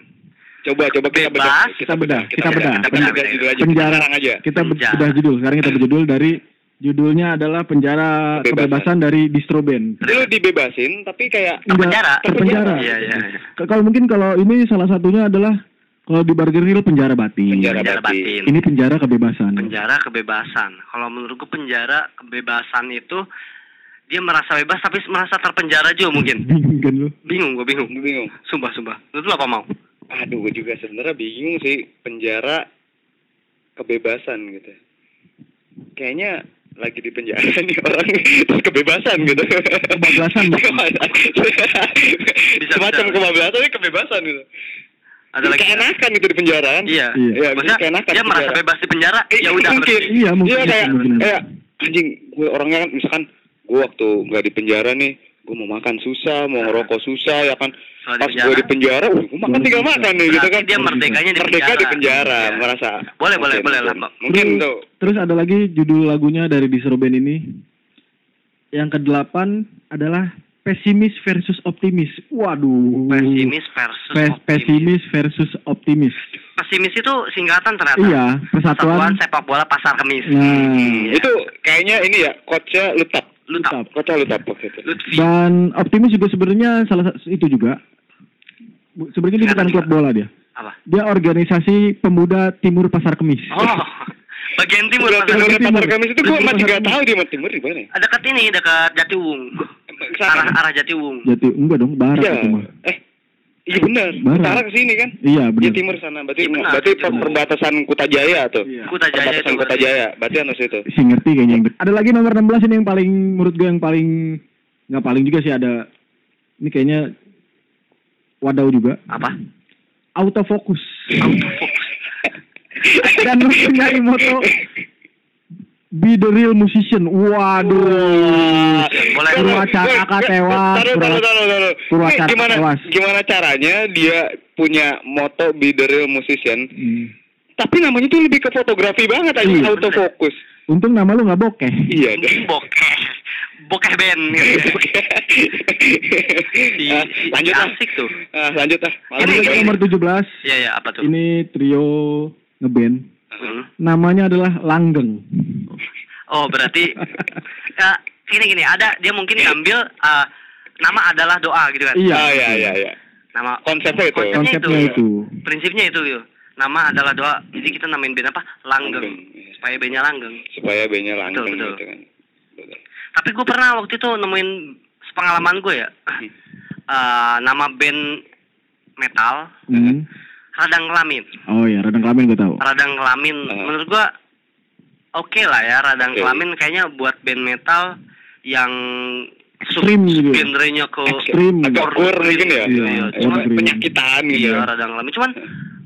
[SPEAKER 1] Coba coba kita bedah.
[SPEAKER 3] Bebas.
[SPEAKER 2] kita bedah
[SPEAKER 3] bedah,
[SPEAKER 2] kita bedah
[SPEAKER 1] Kita bedah
[SPEAKER 3] bedah,
[SPEAKER 2] Pen-
[SPEAKER 3] bedah.
[SPEAKER 1] judul aja. Kita
[SPEAKER 2] penjara
[SPEAKER 1] larang aja.
[SPEAKER 2] kita be-
[SPEAKER 3] Penjara. Hmm.
[SPEAKER 2] bedah judul sekarang kita berjudul dari judulnya adalah penjara
[SPEAKER 1] Kebebasan.
[SPEAKER 2] kebebasan dari distro band
[SPEAKER 1] Jadi lu dibebasin tapi kayak
[SPEAKER 3] Terpenjara.
[SPEAKER 2] Enggak, terpenjara
[SPEAKER 3] Iya, iya, iya.
[SPEAKER 2] K- kalau mungkin kalau ini salah satunya adalah kalau di Burger Hill penjara batin
[SPEAKER 1] Penjara
[SPEAKER 3] Penjara
[SPEAKER 1] batin.
[SPEAKER 3] batin.
[SPEAKER 2] ini penjara kebebasan
[SPEAKER 3] Penjara kebebasan. Kalau menurutku penjara kebebasan itu dia merasa bebas tapi merasa terpenjara juga mungkin.
[SPEAKER 2] bingung kan lu
[SPEAKER 3] Bingung, gue bingung.
[SPEAKER 1] Gua bingung.
[SPEAKER 3] Sumpah, sumpah. Menurut lu apa mau?
[SPEAKER 1] Aduh, gue juga sebenarnya bingung sih penjara kebebasan gitu. Kayaknya lagi di penjara nih orang terus kebebasan gitu.
[SPEAKER 2] Kebablasan, Bang.
[SPEAKER 1] Bisa Semacam
[SPEAKER 3] bisa.
[SPEAKER 1] kebablasan tapi kebebasan gitu.
[SPEAKER 3] Ada lagi?
[SPEAKER 1] Keenakan gitu di penjara kan?
[SPEAKER 3] Iya.
[SPEAKER 2] Iya.
[SPEAKER 1] Iya,
[SPEAKER 3] Maksudnya
[SPEAKER 1] keenakan
[SPEAKER 3] dia
[SPEAKER 1] di
[SPEAKER 3] merasa
[SPEAKER 1] penjara.
[SPEAKER 3] bebas di penjara.
[SPEAKER 1] Eh,
[SPEAKER 3] ya udah.
[SPEAKER 1] mungkin.
[SPEAKER 3] berarti.
[SPEAKER 2] Iya, mungkin,
[SPEAKER 1] Iya, kayak,
[SPEAKER 2] mungkin.
[SPEAKER 1] kayak anjing gue orangnya kan misalkan gue waktu nggak di penjara nih gue mau makan susah, mau ngerokok susah ya kan.
[SPEAKER 3] Soal di
[SPEAKER 1] Pas gue
[SPEAKER 3] penjara.
[SPEAKER 1] di penjara, wah, gue makan tinggal makan nih gitu
[SPEAKER 3] Berarti
[SPEAKER 1] kan.
[SPEAKER 3] dia merdekanya di
[SPEAKER 1] Merdeka
[SPEAKER 3] penjara.
[SPEAKER 1] di penjara,
[SPEAKER 3] Iya.
[SPEAKER 1] merasa.
[SPEAKER 3] Boleh, boleh,
[SPEAKER 1] mungkin,
[SPEAKER 3] boleh lah,
[SPEAKER 1] mungkin.
[SPEAKER 3] Bang.
[SPEAKER 1] Mungkin
[SPEAKER 2] terus,
[SPEAKER 1] tuh.
[SPEAKER 2] terus ada lagi judul lagunya dari Distro Band ini. Yang kedelapan adalah pesimis versus optimis. Waduh.
[SPEAKER 3] Pesimis versus
[SPEAKER 2] Pe-
[SPEAKER 3] optimis.
[SPEAKER 2] pesimis versus optimis.
[SPEAKER 3] Pesimis itu singkatan ternyata.
[SPEAKER 2] Iya,
[SPEAKER 3] Persatuan
[SPEAKER 2] persatuan.
[SPEAKER 3] sepak bola pasar kemis.
[SPEAKER 2] Nah,
[SPEAKER 3] Iya.
[SPEAKER 1] Itu kayaknya ini ya, coachnya Lutap.
[SPEAKER 3] lu tau.
[SPEAKER 2] tetap.
[SPEAKER 1] Coachnya Lutap waktu itu.
[SPEAKER 3] Lutfi.
[SPEAKER 2] Dan optimis juga sebenarnya salah satu itu juga. Bu- Sebenarnya dia bukan klub bola dia.
[SPEAKER 3] Apa?
[SPEAKER 2] Dia organisasi pemuda Timur Pasar Kemis.
[SPEAKER 3] Oh. Bagian timur.
[SPEAKER 1] Udah timur
[SPEAKER 3] pasar kemis.
[SPEAKER 1] pasar Kamis itu gue
[SPEAKER 2] Timur
[SPEAKER 1] masih
[SPEAKER 2] Pasar
[SPEAKER 1] gak
[SPEAKER 2] Kamis.
[SPEAKER 1] tahu di timur di mana. ya?
[SPEAKER 3] Dekat ini, dekat Jatiwung.
[SPEAKER 1] Sana.
[SPEAKER 3] Arah arah Jatiwung.
[SPEAKER 2] Jati enggak dong, barat
[SPEAKER 1] Iya.
[SPEAKER 2] itu mah.
[SPEAKER 1] Eh, iya benar.
[SPEAKER 2] Barat.
[SPEAKER 1] Utara ke sini kan?
[SPEAKER 2] Iya,
[SPEAKER 1] Iya
[SPEAKER 2] benar.
[SPEAKER 1] timur sana. Berarti
[SPEAKER 3] Iya, benar.
[SPEAKER 1] berarti per-
[SPEAKER 3] Timur.
[SPEAKER 1] perbatasan Kutajaya tuh.
[SPEAKER 2] Iya.
[SPEAKER 3] Kutajaya
[SPEAKER 1] perbatasan
[SPEAKER 3] itu.
[SPEAKER 1] Kutajaya. Berarti harus itu.
[SPEAKER 2] si ngerti kayaknya. yang dek- Ada lagi nomor 16 ini yang paling menurut gue yang paling nggak paling juga sih ada ini kayaknya Wadau juga.
[SPEAKER 3] Apa?
[SPEAKER 2] Autofocus.
[SPEAKER 3] Autofocus.
[SPEAKER 2] dan mempunyai moto Be the real musician. Waduh.
[SPEAKER 3] Boleh.
[SPEAKER 2] Purwacara akan
[SPEAKER 1] Taruh,
[SPEAKER 2] tewas.
[SPEAKER 1] taruh,
[SPEAKER 2] Purwa-
[SPEAKER 1] taruh, taruh.
[SPEAKER 2] Purwacara
[SPEAKER 1] Ini gimana,
[SPEAKER 2] tewas.
[SPEAKER 1] gimana caranya dia punya moto be the real musician,
[SPEAKER 2] Hmm.
[SPEAKER 1] tapi namanya tuh lebih ke fotografi banget aja,
[SPEAKER 2] Iya.
[SPEAKER 1] autofocus.
[SPEAKER 2] Untung nama lu nggak bokeh.
[SPEAKER 1] Iya, dah.
[SPEAKER 3] bokeh bokeh band gitu.
[SPEAKER 1] Ah, lanjut ah.
[SPEAKER 3] asik tuh.
[SPEAKER 1] Ah, lanjut ah. Malu
[SPEAKER 2] Ini kan
[SPEAKER 3] Ini-
[SPEAKER 1] gua.
[SPEAKER 3] ini-
[SPEAKER 2] nomor 17.
[SPEAKER 3] Iya ya apa tuh?
[SPEAKER 2] Ini trio ngeband.
[SPEAKER 3] Hmm.
[SPEAKER 2] Namanya adalah Langgeng.
[SPEAKER 3] Oh berarti ya, gini gini ada dia mungkin ngambil eh, nama adalah doa gitu kan?
[SPEAKER 2] Iya.
[SPEAKER 1] Ah, iya, iya, iya.
[SPEAKER 3] Nama
[SPEAKER 1] Konsepnya itu.
[SPEAKER 3] Konsepnya itu.
[SPEAKER 2] Konsepnya Iya, itu.
[SPEAKER 3] prinsipnya itu gitu. Nama adalah doa. Jadi kita namain band apa?
[SPEAKER 1] Langgeng,
[SPEAKER 3] Langgeng.
[SPEAKER 1] iya.
[SPEAKER 3] Supaya bandnya langgeng.
[SPEAKER 1] Supaya bandnya langgeng
[SPEAKER 3] betul.
[SPEAKER 1] gitu kan. Betul.
[SPEAKER 3] Tapi gue pernah waktu itu nemuin pengalaman gue ya.
[SPEAKER 1] Hmm.
[SPEAKER 3] Eh, nama band metal
[SPEAKER 2] Hmm.
[SPEAKER 3] radang kelamin.
[SPEAKER 2] Oh ya, radang kelamin gue tahu.
[SPEAKER 3] Radang kelamin.
[SPEAKER 1] Ah.
[SPEAKER 3] Menurut gue oke lah ya radang
[SPEAKER 1] Oke.
[SPEAKER 3] kelamin kayaknya buat band metal yang sub-
[SPEAKER 2] Ekstrim gitu ya.
[SPEAKER 3] genre-nya ke gitu
[SPEAKER 2] Ekstrim.
[SPEAKER 1] Agak kur mungkin ya.
[SPEAKER 2] Iya,
[SPEAKER 1] Cuma
[SPEAKER 2] kur.
[SPEAKER 1] penyakitan gitu.
[SPEAKER 3] Iya, radang kelamin. Cuman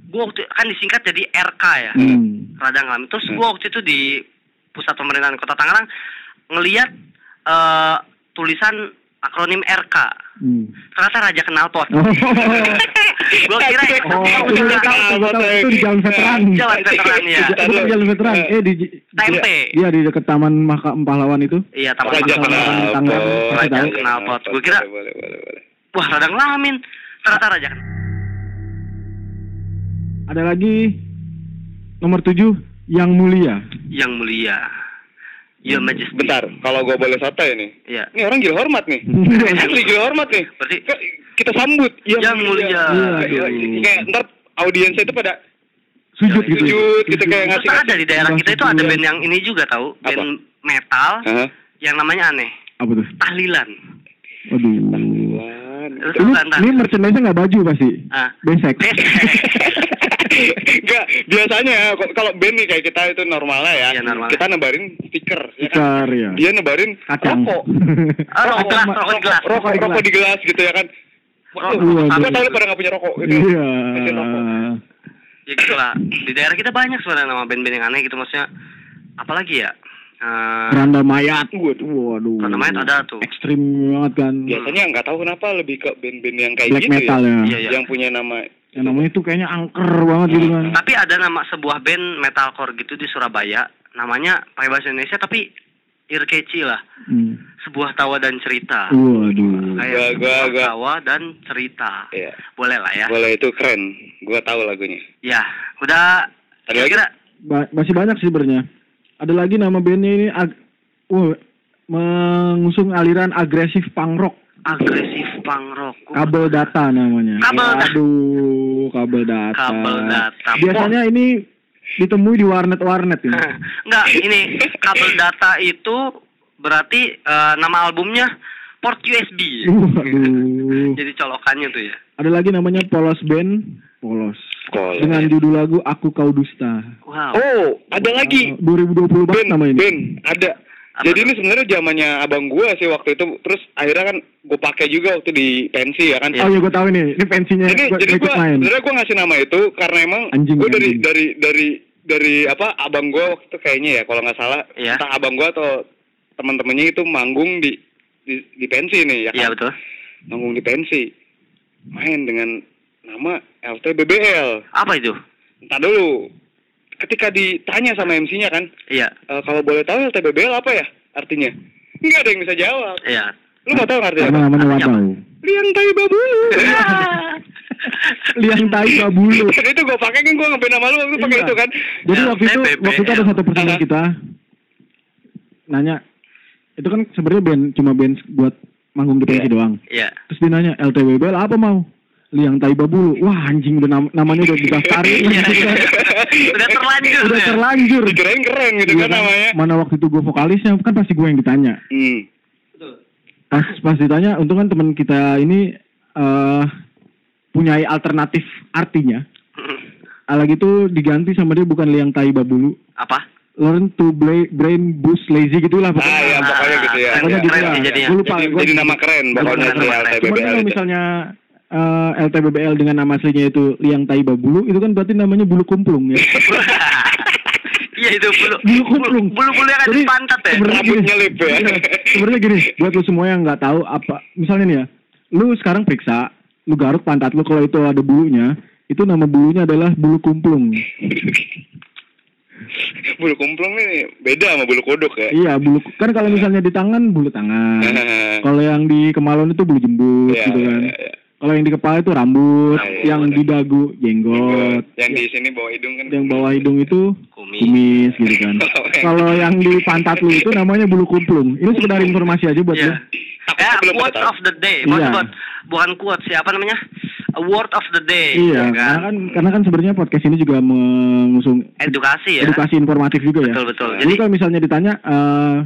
[SPEAKER 3] gue waktu kan disingkat jadi RK ya.
[SPEAKER 2] Hmm.
[SPEAKER 3] radang kelamin. Terus
[SPEAKER 1] Hmm.
[SPEAKER 3] gua waktu itu di pusat pemerintahan Kota Tangerang ngelihat eh, tulisan akronim RK.
[SPEAKER 2] Hmm.
[SPEAKER 3] Ternyata Raja Kenalpot.
[SPEAKER 1] Hmm.
[SPEAKER 2] Oh.
[SPEAKER 3] gua kira
[SPEAKER 2] Oh,
[SPEAKER 3] itu
[SPEAKER 2] itu udah
[SPEAKER 3] udah
[SPEAKER 2] tahu, udah tahu. Itu di jalan veteran.
[SPEAKER 1] Iya,
[SPEAKER 3] Jalan veteran, ya.
[SPEAKER 2] Bukan jalan veteran. Eh di
[SPEAKER 3] TMP.
[SPEAKER 2] Iya di dekat Taman Mahkamah Pahlawan itu.
[SPEAKER 3] Iya, taman
[SPEAKER 1] Raja
[SPEAKER 3] Makam
[SPEAKER 2] kenal.
[SPEAKER 3] Pahlawan.
[SPEAKER 2] Tangerang,
[SPEAKER 1] kenalpot.
[SPEAKER 2] pasti tahu.
[SPEAKER 3] Kenalpot. Gua kira-
[SPEAKER 1] Boleh, boleh, boleh.
[SPEAKER 3] Wah, radang kelamin. Ternyata Raja Kenalpot.
[SPEAKER 2] Ada lagi nomor tujuh yang mulia.
[SPEAKER 3] Yang mulia. Your Majesty.
[SPEAKER 1] Hmm. Bentar, kalau gua boleh sotoy nih.
[SPEAKER 3] Iya.
[SPEAKER 1] Ini orang gila hormat nih. Asli gila hormat nih.
[SPEAKER 3] Berarti-
[SPEAKER 1] Ke- kita sambut.
[SPEAKER 3] Yang mulia.
[SPEAKER 1] Iya,
[SPEAKER 2] Aduh.
[SPEAKER 1] Kayak ntar audiensnya itu pada
[SPEAKER 2] Sujud gitu. ya.
[SPEAKER 1] sujud gitu kayak
[SPEAKER 3] Terus
[SPEAKER 1] ngasih.
[SPEAKER 3] ada di daerah kita itu ada band yang ini juga tahu,
[SPEAKER 1] Apa?
[SPEAKER 3] band metal
[SPEAKER 1] Hah?
[SPEAKER 3] yang namanya aneh,
[SPEAKER 2] Apa tuh?
[SPEAKER 3] tahlilan.
[SPEAKER 2] Waduh.
[SPEAKER 1] Wan.
[SPEAKER 3] Lu tahu
[SPEAKER 2] Ini,
[SPEAKER 3] kan, Tan?
[SPEAKER 2] ini merchandise nggak baju pasti.
[SPEAKER 3] Ah.
[SPEAKER 2] Besek.
[SPEAKER 1] Enggak, biasanya ko- kalau band nih kayak kita itu normalnya ya.
[SPEAKER 3] Iya, normal.
[SPEAKER 1] Kita nebarin stiker. ya kan?
[SPEAKER 2] Tikar ya.
[SPEAKER 1] Dia nebarin
[SPEAKER 2] Kacang.
[SPEAKER 1] rokok.
[SPEAKER 3] Ah, rokok gelas, rokok gelas.
[SPEAKER 1] Rokok,
[SPEAKER 2] Rokok
[SPEAKER 1] rokok di gelas gitu ya kan.
[SPEAKER 3] Rokok
[SPEAKER 1] Waduh,
[SPEAKER 2] gelas.
[SPEAKER 1] gua tahu lu pada nggak punya rokok gitu.
[SPEAKER 2] Iya.
[SPEAKER 1] Kasih rokok.
[SPEAKER 3] ya gitu lah di daerah kita banyak sebenarnya nama band-band yang aneh gitu maksudnya apalagi ya Eh,
[SPEAKER 2] Randa mayat.
[SPEAKER 1] Waduh.
[SPEAKER 2] Waduh.
[SPEAKER 3] Randa mayat ada tuh.
[SPEAKER 2] Ekstrim banget kan.
[SPEAKER 1] Biasanya nggak tahu kenapa lebih ke band-band yang Iya, kayak
[SPEAKER 2] Black
[SPEAKER 1] gitu
[SPEAKER 2] metal
[SPEAKER 1] ya.
[SPEAKER 2] ya.
[SPEAKER 3] Iya, iya.
[SPEAKER 1] Yang punya nama
[SPEAKER 2] Yang namanya tuh kayaknya angker banget gitu kan.
[SPEAKER 3] tapi ada nama sebuah band metalcore gitu di Surabaya namanya pakai bahasa Indonesia tapi irkeci lah
[SPEAKER 2] Hmm.
[SPEAKER 3] sebuah tawa dan cerita
[SPEAKER 2] Waduh.
[SPEAKER 1] Gua- gua-
[SPEAKER 3] kayak sebuah
[SPEAKER 1] gua.
[SPEAKER 3] tawa dan cerita
[SPEAKER 1] Iya.
[SPEAKER 3] boleh lah ya
[SPEAKER 1] Boleh itu keren. Gua tahu lagunya.
[SPEAKER 3] ya udah
[SPEAKER 1] Ada lagi?
[SPEAKER 3] kira-kira
[SPEAKER 2] Ba- masih banyak sih sebenarnya. Ada lagi nama bandnya ini ag- Wah, mengusung aliran agresif punk rock.
[SPEAKER 3] agresif punk rock
[SPEAKER 2] Kabel data namanya.
[SPEAKER 3] Kabel data.
[SPEAKER 2] Aduh, kabel data.
[SPEAKER 3] Kabel data.
[SPEAKER 2] Biasanya ini ditemui di warnet-warnet ini.
[SPEAKER 3] Enggak, ini kabel data itu berarti eh, nama albumnya port USB.
[SPEAKER 2] Uh, Waduh.
[SPEAKER 3] Jadi colokannya tuh ya.
[SPEAKER 2] Ada lagi namanya Polos Band, Polos.
[SPEAKER 1] Polos.
[SPEAKER 2] Dengan judul lagu Aku Kau Dusta.
[SPEAKER 3] Wow.
[SPEAKER 1] Oh, ada
[SPEAKER 2] Iya.
[SPEAKER 1] lagi.
[SPEAKER 2] 2020 banget
[SPEAKER 1] Ben,
[SPEAKER 2] nama ini.
[SPEAKER 1] Ben, ada.
[SPEAKER 3] Apa
[SPEAKER 1] Jadi
[SPEAKER 3] tuh?
[SPEAKER 1] ini sebenarnya zamannya abang gua sih waktu itu. Terus akhirnya kan gue pakai juga waktu di pensi ya kan.
[SPEAKER 2] Oh iya gue tahu ini, ini pensinya
[SPEAKER 1] Jadi
[SPEAKER 2] gua,
[SPEAKER 1] jadi
[SPEAKER 2] gua ikut
[SPEAKER 1] gua
[SPEAKER 2] main.
[SPEAKER 1] sebenarnya gua ngasih nama itu karena emang
[SPEAKER 2] Anjing,
[SPEAKER 1] gua dari
[SPEAKER 2] anjing.
[SPEAKER 1] dari dari dari apa abang gua waktu itu kayaknya ya kalau nggak salah
[SPEAKER 3] Iya.
[SPEAKER 1] entah abang gua atau teman-temannya itu manggung di di, di pensi nih ya kan.
[SPEAKER 3] Iya betul.
[SPEAKER 1] Manggung di pensi. Main dengan nama LTBBL.
[SPEAKER 3] Apa itu?
[SPEAKER 1] Entar dulu. Ketika ditanya sama MC-nya kan,
[SPEAKER 3] Iya,
[SPEAKER 1] Eh, kalau boleh tahu LTBBL apa ya artinya? Nggak ada yang bisa jawab.
[SPEAKER 3] iya.
[SPEAKER 1] Lu nggak tahu artinya
[SPEAKER 2] Karena
[SPEAKER 1] apa?
[SPEAKER 2] namanya
[SPEAKER 3] Apa?
[SPEAKER 2] Wadau.
[SPEAKER 1] Liang tai babulu.
[SPEAKER 2] Liang tai babulu.
[SPEAKER 1] Dan itu gue pakai kan gue ngeband sama lu, lu pakai
[SPEAKER 2] Iya.
[SPEAKER 1] itu kan.
[SPEAKER 2] Jadi waktu itu
[SPEAKER 3] LTBBL.
[SPEAKER 2] waktu itu ada
[SPEAKER 1] ya.
[SPEAKER 2] satu pertanyaan
[SPEAKER 1] Aha.
[SPEAKER 2] kita nanya itu kan sebenarnya band cuma band buat manggung di pensi
[SPEAKER 1] Iya.
[SPEAKER 2] doang.
[SPEAKER 3] Iya.
[SPEAKER 2] Terus dia nanya LTWBL apa mau? Liang tai babulu. Wah anjing udah nam- namanya udah didaftarin.
[SPEAKER 3] Iya. Udah terlanjur.
[SPEAKER 2] udah
[SPEAKER 3] ya?
[SPEAKER 2] terlanjur.
[SPEAKER 1] Dikirain keren gitu
[SPEAKER 2] Iya
[SPEAKER 1] Iya. kan namanya.
[SPEAKER 2] Mana waktu itu gue vokalisnya kan pasti gue yang ditanya.
[SPEAKER 1] Hmm.
[SPEAKER 2] Pas pas ditanya untung kan teman kita ini eh punya alternatif artinya. Lagi itu diganti sama dia bukan liang tai babulu.
[SPEAKER 3] Apa?
[SPEAKER 2] Learn to bla- brain boost lazy gitulah
[SPEAKER 1] Ah
[SPEAKER 2] pokoknya.
[SPEAKER 1] ya pokoknya gitu ya.
[SPEAKER 2] Pokoknya
[SPEAKER 1] Ya,
[SPEAKER 2] gitu
[SPEAKER 1] ya,
[SPEAKER 2] lah.
[SPEAKER 3] sih
[SPEAKER 1] ya.
[SPEAKER 3] jadinya.
[SPEAKER 2] Gua lupa,
[SPEAKER 1] Jadi,
[SPEAKER 2] gua- Iya,
[SPEAKER 1] jadi nama keren pokoknya
[SPEAKER 3] Bener,
[SPEAKER 1] itu ya,
[SPEAKER 3] bener.
[SPEAKER 2] Cuman
[SPEAKER 1] LTBBL
[SPEAKER 2] kalau
[SPEAKER 1] itu.
[SPEAKER 2] misalnya kan eh, LTBBL dengan nama aslinya itu liang tai babulu itu kan berarti namanya bulu kumplung ya.
[SPEAKER 3] Iya itu bulu
[SPEAKER 2] Bulu kumplung.
[SPEAKER 3] Bulu bulu
[SPEAKER 1] Kan
[SPEAKER 3] yang ada di
[SPEAKER 2] Jadi,
[SPEAKER 3] pantat ya.
[SPEAKER 2] sebenarnya gini.
[SPEAKER 1] Rambutnya lip ya.
[SPEAKER 2] Iya, Sebenarnya gini, buat lu semua yang nggak tahu apa, misalnya nih ya, lu sekarang periksa, lu garuk pantat lu kalau itu ada bulunya, itu nama bulunya adalah bulu kumplung.
[SPEAKER 1] bulu kumplung ini beda sama bulu kodok ya.
[SPEAKER 2] iya, bulu kan kalau misalnya di tangan bulu tangan. kalau yang di kemaluan itu bulu jembut
[SPEAKER 1] Iya,
[SPEAKER 2] gitu kan.
[SPEAKER 1] iya, iya.
[SPEAKER 2] Kalau yang di kepala itu rambut,
[SPEAKER 1] Rambut,
[SPEAKER 2] yang di dagu jenggot,
[SPEAKER 1] Yang di sini bawah hidung kan.
[SPEAKER 2] yang bawah hidung itu
[SPEAKER 3] Kumis.
[SPEAKER 2] kumis gitu kan. Kalau yang di pantat lu itu namanya bulu kumplung. Ini sekedar informasi aja buat
[SPEAKER 3] Iya.
[SPEAKER 2] lu.
[SPEAKER 1] Aku
[SPEAKER 3] Ya,
[SPEAKER 1] belum
[SPEAKER 3] quotes
[SPEAKER 1] tahu.
[SPEAKER 3] of the day.
[SPEAKER 2] Iya.
[SPEAKER 3] Bukan quotes, bukan quotes ya, apa namanya? A word of the day.
[SPEAKER 2] Iya,
[SPEAKER 3] ya
[SPEAKER 2] karena kan Eh, karena kan sebenarnya podcast ini juga mengusung
[SPEAKER 3] Edukasi ya.
[SPEAKER 2] edukasi informatif juga ya.
[SPEAKER 3] Betul betul.
[SPEAKER 2] Jadi
[SPEAKER 3] Jadi
[SPEAKER 2] kalau misalnya ditanya eh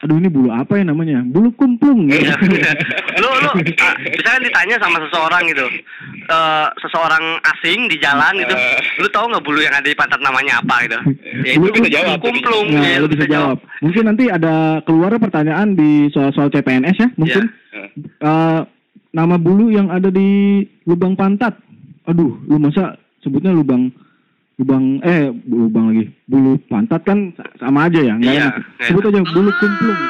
[SPEAKER 2] aduh ini bulu apa ya namanya? Bulu kumplung. Gitu.
[SPEAKER 3] Iya. lu lu ah, misalnya ditanya sama seseorang gitu eh, seseorang asing di jalan gitu
[SPEAKER 1] Eh.
[SPEAKER 3] lu tahu nggak bulu yang ada di pantat namanya apa gitu ya
[SPEAKER 2] Lu
[SPEAKER 3] itu
[SPEAKER 1] bisa jawab.
[SPEAKER 3] kumplung
[SPEAKER 2] Nah,
[SPEAKER 3] ya,
[SPEAKER 2] lu bisa jawab. Mungkin nanti ada keluar pertanyaan di soal-soal CPNS ya, mungkin.
[SPEAKER 1] Heeh.
[SPEAKER 2] Eh, nama bulu yang ada di lubang pantat. Aduh, lu masa sebutnya lubang lubang eh lubang lagi. Bulu pantat kan sa- sama aja ya, nggak
[SPEAKER 3] Iya,
[SPEAKER 2] enak.
[SPEAKER 3] nggak
[SPEAKER 2] Sebut aja bulu kumplung.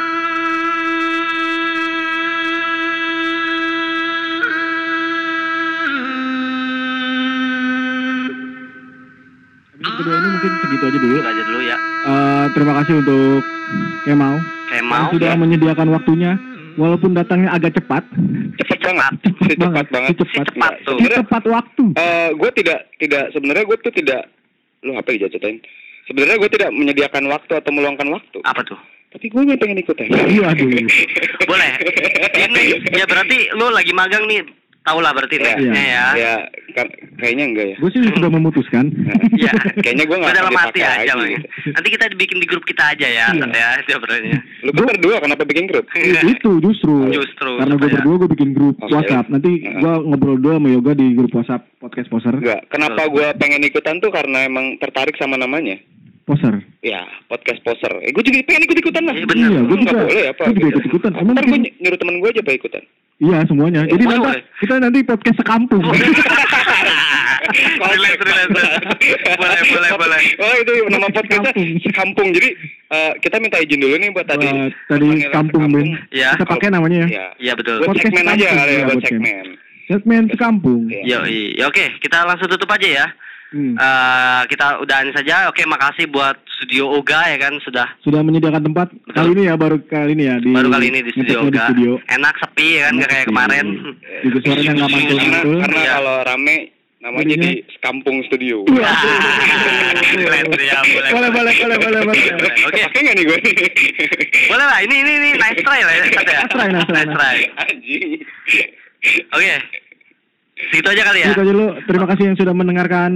[SPEAKER 2] Episode kedua ini mungkin segitu aja dulu.
[SPEAKER 3] Itu aja dulu ya
[SPEAKER 2] Eh, terima kasih untuk Kemal
[SPEAKER 3] kayak
[SPEAKER 2] yang
[SPEAKER 3] mau
[SPEAKER 2] sudah menyediakan waktunya walaupun datangnya agak cepat.
[SPEAKER 1] Cepat banget.
[SPEAKER 2] Cepat
[SPEAKER 1] Cepat banget.
[SPEAKER 2] Si cepat.
[SPEAKER 3] Cepat tuh.
[SPEAKER 2] Si tepat waktu.
[SPEAKER 1] Eh, gue tidak tidak sebenarnya gue tuh tidak lu apa dijatuhin sebenarnya gue tidak menyediakan waktu atau meluangkan waktu
[SPEAKER 3] apa tuh
[SPEAKER 1] tapi gue nggak pengen ikut aja
[SPEAKER 2] Ah. Iya, aduh. Iya,
[SPEAKER 3] boleh ini ya berarti lu lagi magang nih tau lah berarti
[SPEAKER 1] Iya.
[SPEAKER 3] nextnya ya
[SPEAKER 1] ya kan- kayaknya enggak ya
[SPEAKER 2] Gue sih sudah memutuskan.
[SPEAKER 3] Iya.
[SPEAKER 1] Kayaknya gua nggak akan
[SPEAKER 3] dalam hati
[SPEAKER 1] dipakai
[SPEAKER 3] aja
[SPEAKER 1] lagi,
[SPEAKER 3] Bang, ya.
[SPEAKER 1] gitu.
[SPEAKER 3] nanti kita bikin di grup kita aja ya
[SPEAKER 2] Iya.
[SPEAKER 3] Sat, ya itu sebenarnya
[SPEAKER 1] lu kan berdua kenapa bikin grup
[SPEAKER 2] itu justru.
[SPEAKER 3] Justru, Eh.
[SPEAKER 2] Karena gue
[SPEAKER 3] supaya-
[SPEAKER 2] berdua gue bikin grup
[SPEAKER 1] Oke.
[SPEAKER 2] WhatsApp. Nanti
[SPEAKER 1] Heeh.
[SPEAKER 2] gue ngobrol dua sama Yoga di grup WhatsApp podcast poser.
[SPEAKER 3] Iya.
[SPEAKER 1] enggak kenapa gue pengen ikutan tuh karena emang tertarik sama namanya
[SPEAKER 2] Poser.
[SPEAKER 1] ya podcast poser eh, gue juga pengen ikut ikutan lah
[SPEAKER 3] Iya, bener.
[SPEAKER 2] Iya, gue
[SPEAKER 1] Lu nggak
[SPEAKER 2] juga.
[SPEAKER 1] boleh apa
[SPEAKER 2] Gue juga
[SPEAKER 1] gitu.
[SPEAKER 2] ikut-ikutan. Emang
[SPEAKER 1] ntar gue
[SPEAKER 2] bikin-
[SPEAKER 1] nyuruh temen gue aja pak ikutan
[SPEAKER 2] Iya semuanya. Jadi
[SPEAKER 3] Oh, Boleh,
[SPEAKER 2] nanti
[SPEAKER 3] boleh. Oh, iya.
[SPEAKER 2] kita nanti podcast sekampung.
[SPEAKER 3] Relax, relax, relax. Boleh, boleh, boleh.
[SPEAKER 1] Oh itu nama podcastnya
[SPEAKER 2] Kampung.
[SPEAKER 1] Sekampung. Jadi eh, kita minta izin dulu nih buat tadi.
[SPEAKER 2] Wah, tadi
[SPEAKER 1] Panggilnya
[SPEAKER 2] kampung, Ben.
[SPEAKER 3] Iya.
[SPEAKER 2] Kita pakai namanya ya.
[SPEAKER 1] Iya.
[SPEAKER 3] iya betul
[SPEAKER 1] Buat
[SPEAKER 2] Podcast
[SPEAKER 1] segmen aja
[SPEAKER 2] kampung,
[SPEAKER 1] kali ya,
[SPEAKER 2] iya,
[SPEAKER 1] buat
[SPEAKER 2] buat
[SPEAKER 1] segmen.
[SPEAKER 2] Segmen sekampung.
[SPEAKER 1] Iya.
[SPEAKER 3] Yo, i- Ya, oke, kita langsung tutup aja ya.
[SPEAKER 2] Hmm.
[SPEAKER 3] Eh, kita udahan saja. Oke, makasih buat studio Oga ya kan sudah
[SPEAKER 2] Sudah menyediakan tempat kali ini ya baru kali ini ya di
[SPEAKER 3] baru kali ini di studio
[SPEAKER 2] ngetesnya di
[SPEAKER 3] Oga.
[SPEAKER 2] studio.
[SPEAKER 3] Enak sepi ya kan nggak kayak kemarin.
[SPEAKER 2] Juga suaranya nggak gitu.
[SPEAKER 1] Karena,
[SPEAKER 2] mantul-mantul.
[SPEAKER 1] karena
[SPEAKER 3] Iya.
[SPEAKER 1] kalau rame namanya
[SPEAKER 2] Jadinya-
[SPEAKER 1] jadi Sekampung Studio.
[SPEAKER 2] Iya.
[SPEAKER 3] Boleh, boleh,
[SPEAKER 2] ya. Boleh, boleh, boleh, boleh, boleh.
[SPEAKER 3] Oke.
[SPEAKER 1] Pakai nggak nih gue?
[SPEAKER 3] Boleh lah, ini ini ini nice try lah ya. Sat, ya.
[SPEAKER 2] Nice try, nice try, nice try.
[SPEAKER 1] Anjing.
[SPEAKER 3] Oke. Segitu aja kali ya.
[SPEAKER 2] Gitu aja lu. Terima kasih yang sudah mendengarkan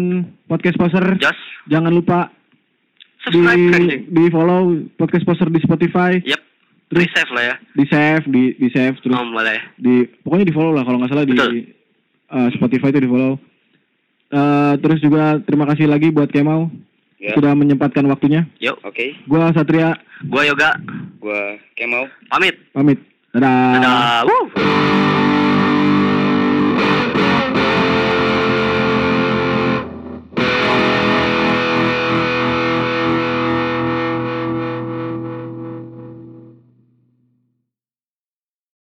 [SPEAKER 2] podcast poser.
[SPEAKER 3] Jos,
[SPEAKER 2] Jangan lupa di
[SPEAKER 3] subscribe kan, anjing.
[SPEAKER 2] di follow podcast poser di Spotify,
[SPEAKER 3] Yep. Resave lah ya.
[SPEAKER 2] di save, di di save terus
[SPEAKER 3] Om boleh.
[SPEAKER 2] di pokoknya di follow lah kalau nggak salah di
[SPEAKER 3] Betul.
[SPEAKER 2] eh, Spotify itu di follow. Eh, terus juga terima kasih lagi buat Kemau
[SPEAKER 1] Ya.
[SPEAKER 3] Iya.
[SPEAKER 2] sudah menyempatkan waktunya.
[SPEAKER 3] Yuk,
[SPEAKER 1] Oke,
[SPEAKER 2] Gua Satria
[SPEAKER 3] gua Yoga
[SPEAKER 1] gua gue Kemal.
[SPEAKER 3] pamit.
[SPEAKER 2] pamit. Dadah.
[SPEAKER 3] Dadah. Woo.